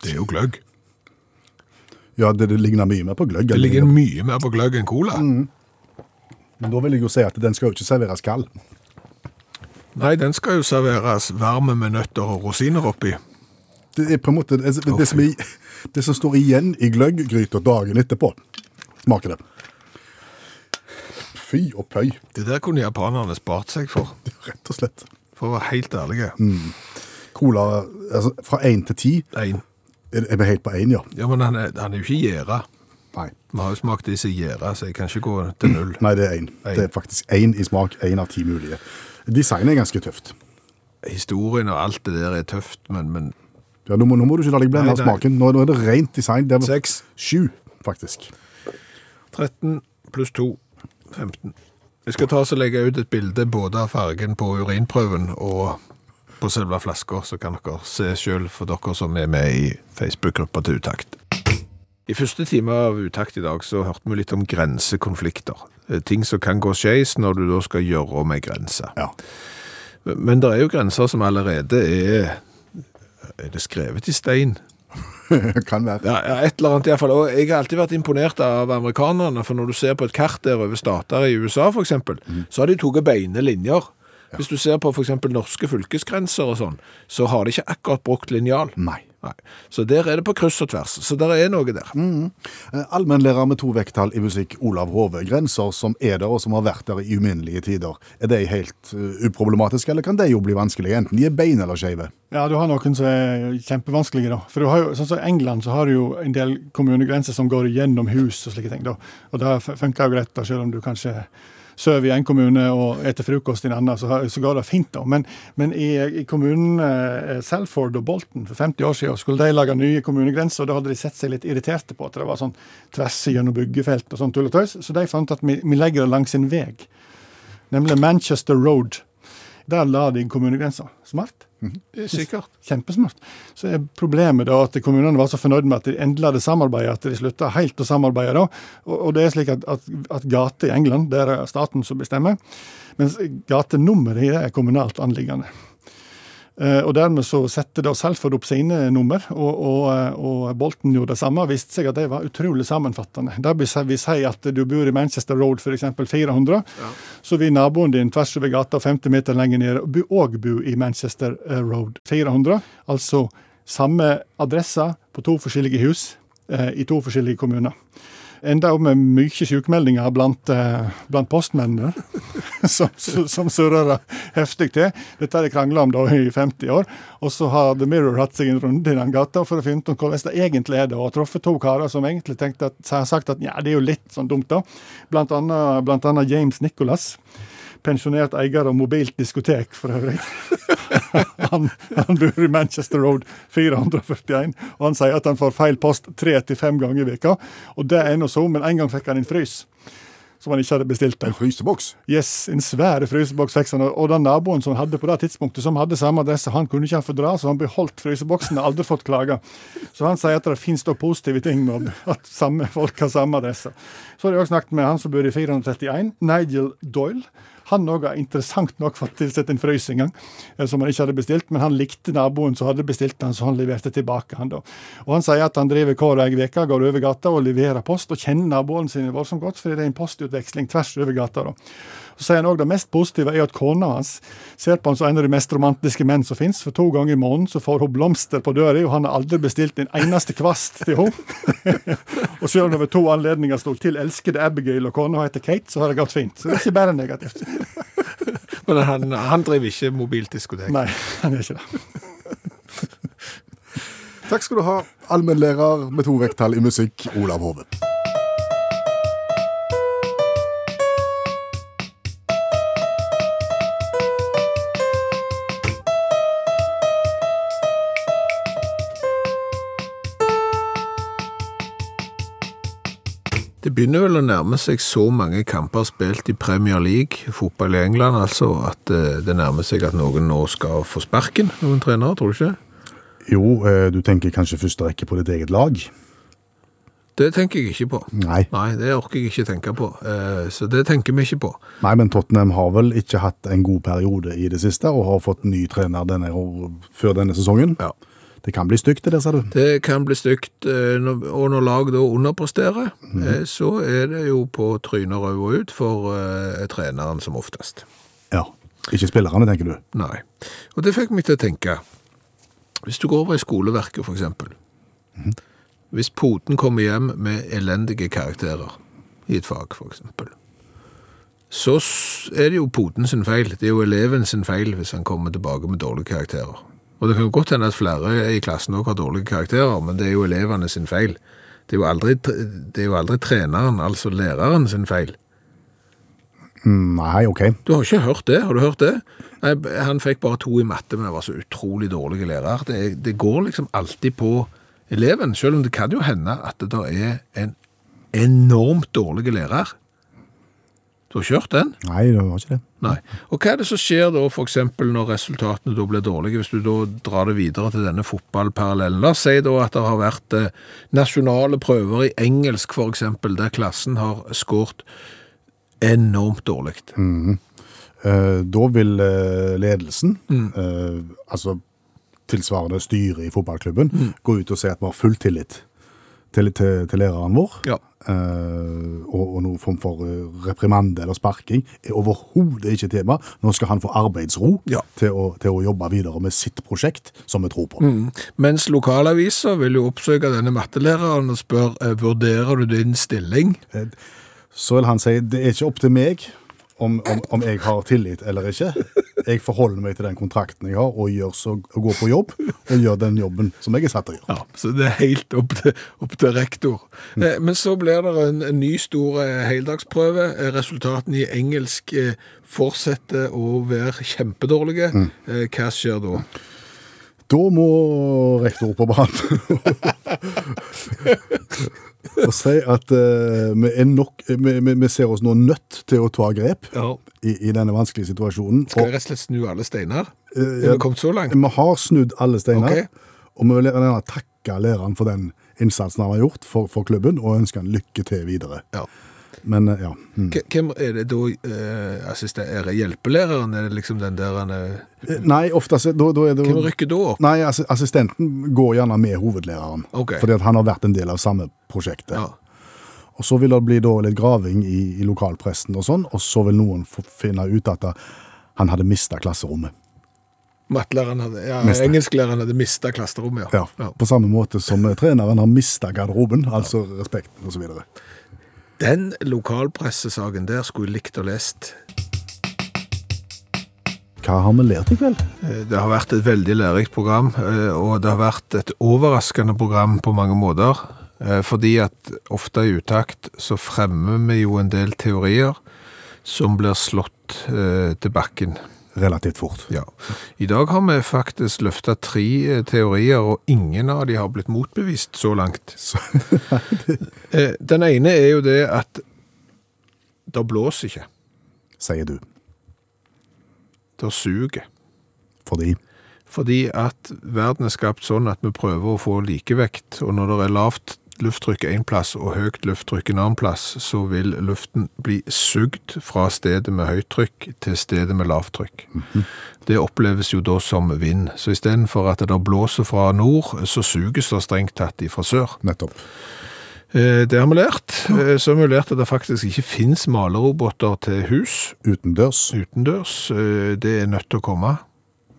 B: Det er jo gløgg.
C: Ja, det, det ligner mye mer på gløgg.
B: Det
C: enn
B: ligger mye mer på gløgg Mm. enn cola.
C: Men da vil jeg jo si at den skal jo ikke serveres kald.
B: Nei, den skal jo serveres varm med nøtter og rosiner oppi.
C: Det er på en måte det, det,
B: Å, fy.
C: som, er, det som står igjen i gløgggryta dagen etterpå. Smaker det. Fy og pøy,
B: Det der kunne japanerne spart seg for,
C: rett og slett.
B: Mm. for å være helt ærlige.
C: Cola altså, fra én til ti.
B: Én.
C: Er er vi helt på én, ja?
B: Ja, men han er, han er jo ikke gjæra.
C: Nei.
B: Vi har jo smakt de som er gjæra, så jeg kan ikke gå til null.
C: Nei, det er én. Det er faktisk én i smak. Én av ti mulige. Designet er ganske tøft.
B: Historien og alt det der er tøft, men, men
C: Ja, nå, må, nå må du ikke la deg blende
B: Nei,
C: av
B: nei.
C: smaken. Nå, nå er det rent design. Det er
B: Seks.
C: Sju, faktisk.
B: 13 pluss 2, 15. Jeg skal ta og så legge ut et bilde både av fargen på urinprøven og på selve flasker, så kan dere se selv for dere som er med i Facebook-gruppa til Utakt. I første time av Utakt i dag så hørte vi litt om grensekonflikter. Eh, Ting som kan gå skeis når du da skal gjøre om ei grense.
C: Ja.
B: Men men det er jo grenser som allerede er Er det skrevet i stein?
C: kan være.
B: Ja, ja, et eller annet i hvert fall. Og jeg har alltid vært imponert av amerikanerne, for når du ser på et kart der over stater i USA, for eksempel,
C: Mhm.
B: så har de tatt beine linjer. Hvis du ser på for eksempel norske fylkesgrenser og sånn, så har de ikke akkurat brukt linjal.
C: Nei.
B: Nei. Så der er det på kryss og tvers. Så der er noe der.
C: Eh, Allmennlærer med to vekttall i musikk, Olav Hove. Grenser som er der, og som har vært der i uminnelige tider. Er de helt eh, uproblematiske, eller kan de jo bli vanskelige? Enten de er bein eller skeive.
G: Ja, du har noen som er kjempevanskelige, da. For du har jo, sånn som I England så har du jo en del kommunegrenser som går gjennom hus og slike ting. da. Og det f- funker jo greit, da, selv om du kanskje sover i en kommune og eter frokost i en annen, så, har- så går det fint, da. Men, men i, i kommunen eh, Salford og Bolton for 50 år siden skulle de lage nye kommunegrenser, og da hadde de sett seg litt irriterte på at det var sånn tvers gjennom byggefelt og sånn tull og tøys, så de fant at vi, vi legger det langs en vei, nemlig Manchester Road. Der la de kommunegrenser. Smart.
B: Sikkert.
G: Kjempesmart. Så er problemet da at kommunene var så fornøyd med at de endelig hadde samarbeidet, at de slutta helt å samarbeide da. Og, og det er slik at, at, at gater i England, der er staten som bestemmer, mens gatenummeret er kommunalt anliggende. Eh, Og dermed så setter da Salford opp sine nummer, og, og, eh, og Bolten gjorde det samme. Viste seg at de var utrolig sammenfattende. Der vil si- vil si at du bor i Manchester Road f.eks. 400, så vil naboen din tvers over gata og 50 meter lenger ned bo- òg bo i Manchester eh, Road 400. Altså samme adresse på to forskjellige hus eh, i to forskjellige kommuner. Enda opp med mye sykemeldinger blant, eh, blant postmennene som, som surrer heftig til. Dette har de krangla om da i 50 år. Og så har The Mirror hatt seg en runde i den gata for å finne ut om hvordan det egentlig er. det, og har truffet to karer som egentlig tenkte at, som har sagt at ja, det er jo litt sånn dumt, da. Blant annet, blant annet James Nicholas. Pensjonert eier av mobilt diskotek, for øvrig. Han, han bor i Manchester Road 441, og han sier at han får feil post tre til fem ganger i veka, Og det er nå så, men en gang fikk han en frys som han ikke hadde bestilt.
C: En fryseboks.
G: Yes, en svær fryseboks fikk han, og den naboen som han hadde på det tidspunktet, som hadde samme adresse, han kunne ikke han fordra, så han beholdt fryseboksen og aldri fått klager. Så han sier at det finnes da positive ting med at samme folk har samme adresse. Så har jeg også snakket med han som bor i 431, Nigel Doyle. Han òg har interessant nok fått tilsett en frys en gang, eh, som han ikke hadde bestilt, men han likte naboen som hadde bestilt den, så han leverte tilbake, han da. Og han sier at han driver hver ei uke, går over gata og leverer post, og kjenner naboen sin voldsomt godt, fordi det er en postutveksling tvers over gata, da. Så sier han også det mest positive er at kona hans ser på han som en av de mest romantiske menn som finnes, for to ganger i måneden så får hun blomster på døra, og han har aldri bestilt en eneste kvast til henne. og selv om det ved to anledninger sto til 'elskede Abigail' og kona heter Kate, så har det gått fint. Så det er ikke bare negativt.
B: Men han, han driver ikke mobildiskotek.
G: Nei, han er ikke det.
C: Takk skal du ha, allmennlærer med to vekttall i musikk, Olav Hove.
B: Det begynner vel å nærme seg så mange kamper spilt i Premier League, fotball i England, altså, at eh, det nærmer seg at noen nå skal få sparken, noen trenere, tror du ikke?
C: Jo, eh, du tenker kanskje første rekke på ditt eget lag?
B: Det tenker jeg ikke på.
C: Nei.
B: Nei, det orker jeg ikke tenke på. Eh, Så det tenker vi ikke på.
C: Nei, men Tottenham har vel ikke hatt en god periode i det siste, og har fått ny trener denne, før denne sesongen.
B: Ja.
C: Det kan bli stygt, det der, sa du.
B: Det kan bli stygt, eh, når- og når lag da underpresterer, eh, så er det jo på trynet rød og ut for eh, treneren som oftest.
C: Ja. Ikke spillerne, tenker du.
B: Nei. Og det fikk meg til å tenke. Hvis du går over i skoleverket, for eksempel. Hvis poten kommer hjem med elendige karakterer i et fag, for eksempel. Så s- er det jo poten sin feil. Det er jo eleven sin feil hvis han kommer tilbake med dårlige karakterer. Og det kan jo godt hende at flere i klassen også har dårlige karakterer, men det er jo elevene sin feil. Det er jo aldri, det er jo aldri treneren, altså læreren sin feil.
C: Mm, Nei, OK.
B: Du har ikke hørt det, har du hørt det? Nei, b- han fikk bare to i matte, men var så utrolig dårlige lærer. Det, er- det går liksom alltid på eleven, selv om det kan jo hende at det da er en enormt dårlig lærer. Du har ikke hørt den?
C: Nei, det var ikke det.
B: Nei. Og hva er det som skjer da, for eksempel, når resultatene da blir dårlige, hvis du da drar det videre til denne fotballparallellen? La oss si da at det har vært eh, nasjonale prøver i engelsk, for eksempel, der klassen har skårt enormt dårlig.
C: Eh, da vil eh, ledelsen,
B: Mm.
C: eh, altså tilsvarende styret i fotballklubben, gå ut og si at vi har full tillit til, til, til læreren vår.
B: Ja.
C: Eh, og, og noen form for eh, reprimande eller sparking er overhodet ikke tema. Nå skal han få arbeidsro
B: Ja.
C: til, å, til å jobbe videre med sitt prosjekt, som vi tror på.
B: Mm. Mens lokalaviser vil jo oppsøke denne mattelæreren og spørre, eh, vurderer du din stilling?
C: Så vil han si det er ikke opp til meg om, om, om jeg har tillit eller ikke. Jeg forholder meg til den kontrakten jeg har, og, gjør så, og går på jobb og gjør den jobben som jeg er satt til å gjøre.
B: Ja, så det er helt opp til, opp til rektor. Eh, men så blir det en, en ny stor eh, heldagsprøve. Eh, Resultatene i engelsk eh, fortsetter å være kjempedårlige. Eh, hva skjer da?
C: Da må rektor på banen og si at eh, vi, er nok, vi, vi, vi ser oss nå nødt til å ta grep
B: Ja.
C: i, i denne vanskelige situasjonen.
B: Skal jeg rett og slett snu alle steiner?
C: Eh,
B: Er vi kommet så langt?
C: Vi har snudd alle steiner,
B: Ok.
C: og vi vil gjerne takke læreren for den innsatsen han har gjort for, for klubben, og ønske han lykke til videre.
B: Ja.
C: Men eh, ja, mm.
B: K- Hvem er det da eh, assistent? Er det hjelpelæreren? Er det liksom den der han eh,
C: Eh, Nei, ofte så- da, da er det
B: Hvem rykker da opp?
C: Nei, assi- assistenten går gjerne med hovedlæreren,
B: Ok.
C: fordi at han har vært en del av samme prosjektet.
B: Ja.
C: Og så vil det bli da litt graving i, i lokalpressen og sånn, og så vil noen få finne ut at eh, han hadde mista klasserommet.
B: Mattelæreren hadde, ja,
C: Miste.
B: engelsklæreren hadde mista klasserommet,
C: Ja, På samme måte som eh, treneren har mista garderoben, altså respekten osv.
B: Den lokalpressesaken der skulle jeg likt å lest.
C: Hva har vi lært i kveld?
B: Eh, Det har vært et veldig lærerikt program, eh, og det har vært et overraskende program på mange måter. eh, Fordi at ofte i utakt så fremmer vi jo en del teorier som blir slått eh, til bakken.
C: Relativt fort.
B: Ja. I dag har vi faktisk løfta tre eh, teorier, og ingen av de har blitt motbevist så langt. Eh, Den ene er jo det at det blåser ikke,
C: sier du.
B: det suger.
C: Fordi
B: Fordi at verden er skapt sånn at vi prøver å få likevekt, og når det er lavt lufttrykk en plass og høyt lufttrykk en annen plass, så vil luften bli sugd fra stedet med høyt trykk til stedet med lavt trykk. Det oppleves jo da som vind, så istedenfor at det da blåser fra nord, så suges det strengt tatt ifra sør.
C: Nettopp.
B: Eh, Det har vi lært. Eh, Så har vi lært at det faktisk ikke finnes maleroboter til hus,
C: Utendørs.
B: utendørs. eh, Det er nødt til å komme.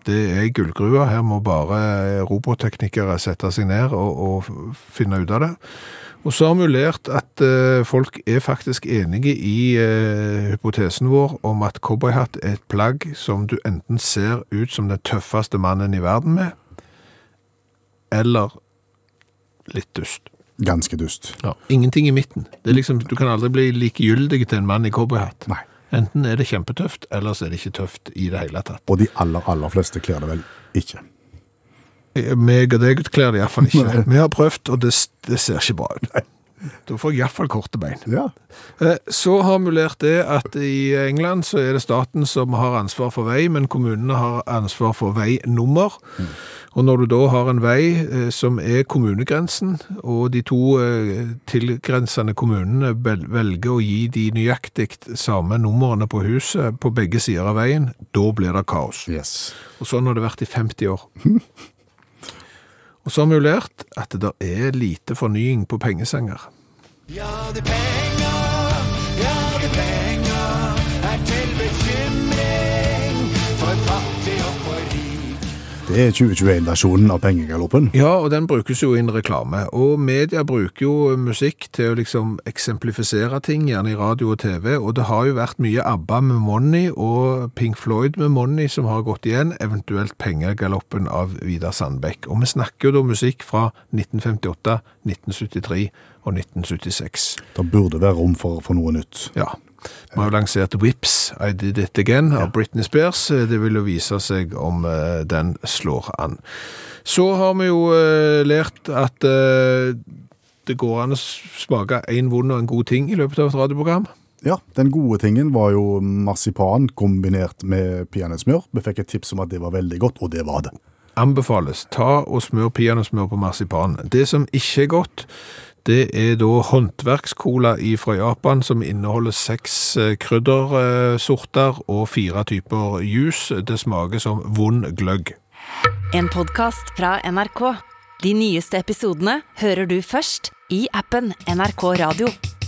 B: Det er gullgrua. Her må bare robotteknikere sette seg ned og, og finne ut av det. Og så har vi jo lært at eh, folk er faktisk enige i eh, hypotesen vår om at cowboyhatt er et plagg som du enten ser ut som den tøffeste mannen i verden med, eller litt dust.
C: Ganske dust.
B: Ingenting i midten. Det er liksom, du kan aldri bli likegyldig til en mann i cowboyhatt.
C: Nei.
B: Enten er det kjempetøft, eller så er det ikke tøft i det hele tatt.
C: Og de aller, aller fleste kler det vel ikke.
B: Meg og deg kler det iallfall ikke. Vi har prøvd, og det, det ser ikke bra ut. Da får jeg iallfall korte bein.
C: Ja.
B: Eh, Så har vi lært det at i England så er det staten som har ansvar for vei, men kommunene har ansvar for veinummer. Og når du da har en vei eh, som er kommunegrensen, og de to eh, tilgrensende kommunene vel- velger å gi de nøyaktig samme numrene på huset på begge sider av veien, da blir det kaos.
C: Yes.
B: Og sånn har det vært i 50 år. Og så har vi jo lært at det er lite fornying på pengesenger.
E: Ja, det penger, ja, det penger er til bekymring for fattig og for rik.
C: Det er 2021-versjonen av Pengegaloppen.
B: Ja, og den brukes jo i en reklame. Og media bruker jo musikk til å liksom eksemplifisere ting, gjerne i radio og TV. Og det har jo vært mye ABBA med Money og Pink Floyd med Money som har gått igjen, eventuelt Pengegaloppen av Vidar Sandbekk. Og vi snakker jo da musikk fra 1958, 1973 og 1976.
C: Det burde være rom for, for noe nytt.
B: Ja. Vi har jo lansert Whips, I Did It Again av Britney Spears. Eh, Det vil jo vise seg om eh, den slår an. Så har vi jo eh, lært at eh, det går an å smake en vond og en god ting i løpet av et radioprogram.
C: Ja, Den gode tingen var jo marsipan kombinert med peanøttsmør. Vi fikk et tips om at det var veldig godt, og det var det.
B: Anbefales ta og smør peanøttsmør på marsipan. Det som ikke er godt, det er da håndverkscola fra Japan som inneholder seks eh, kryddersorter og fire typer juice. Det smaker som vond gløgg.
A: En podkast fra NRK. De nyeste episodene hører du først i appen NRK Radio.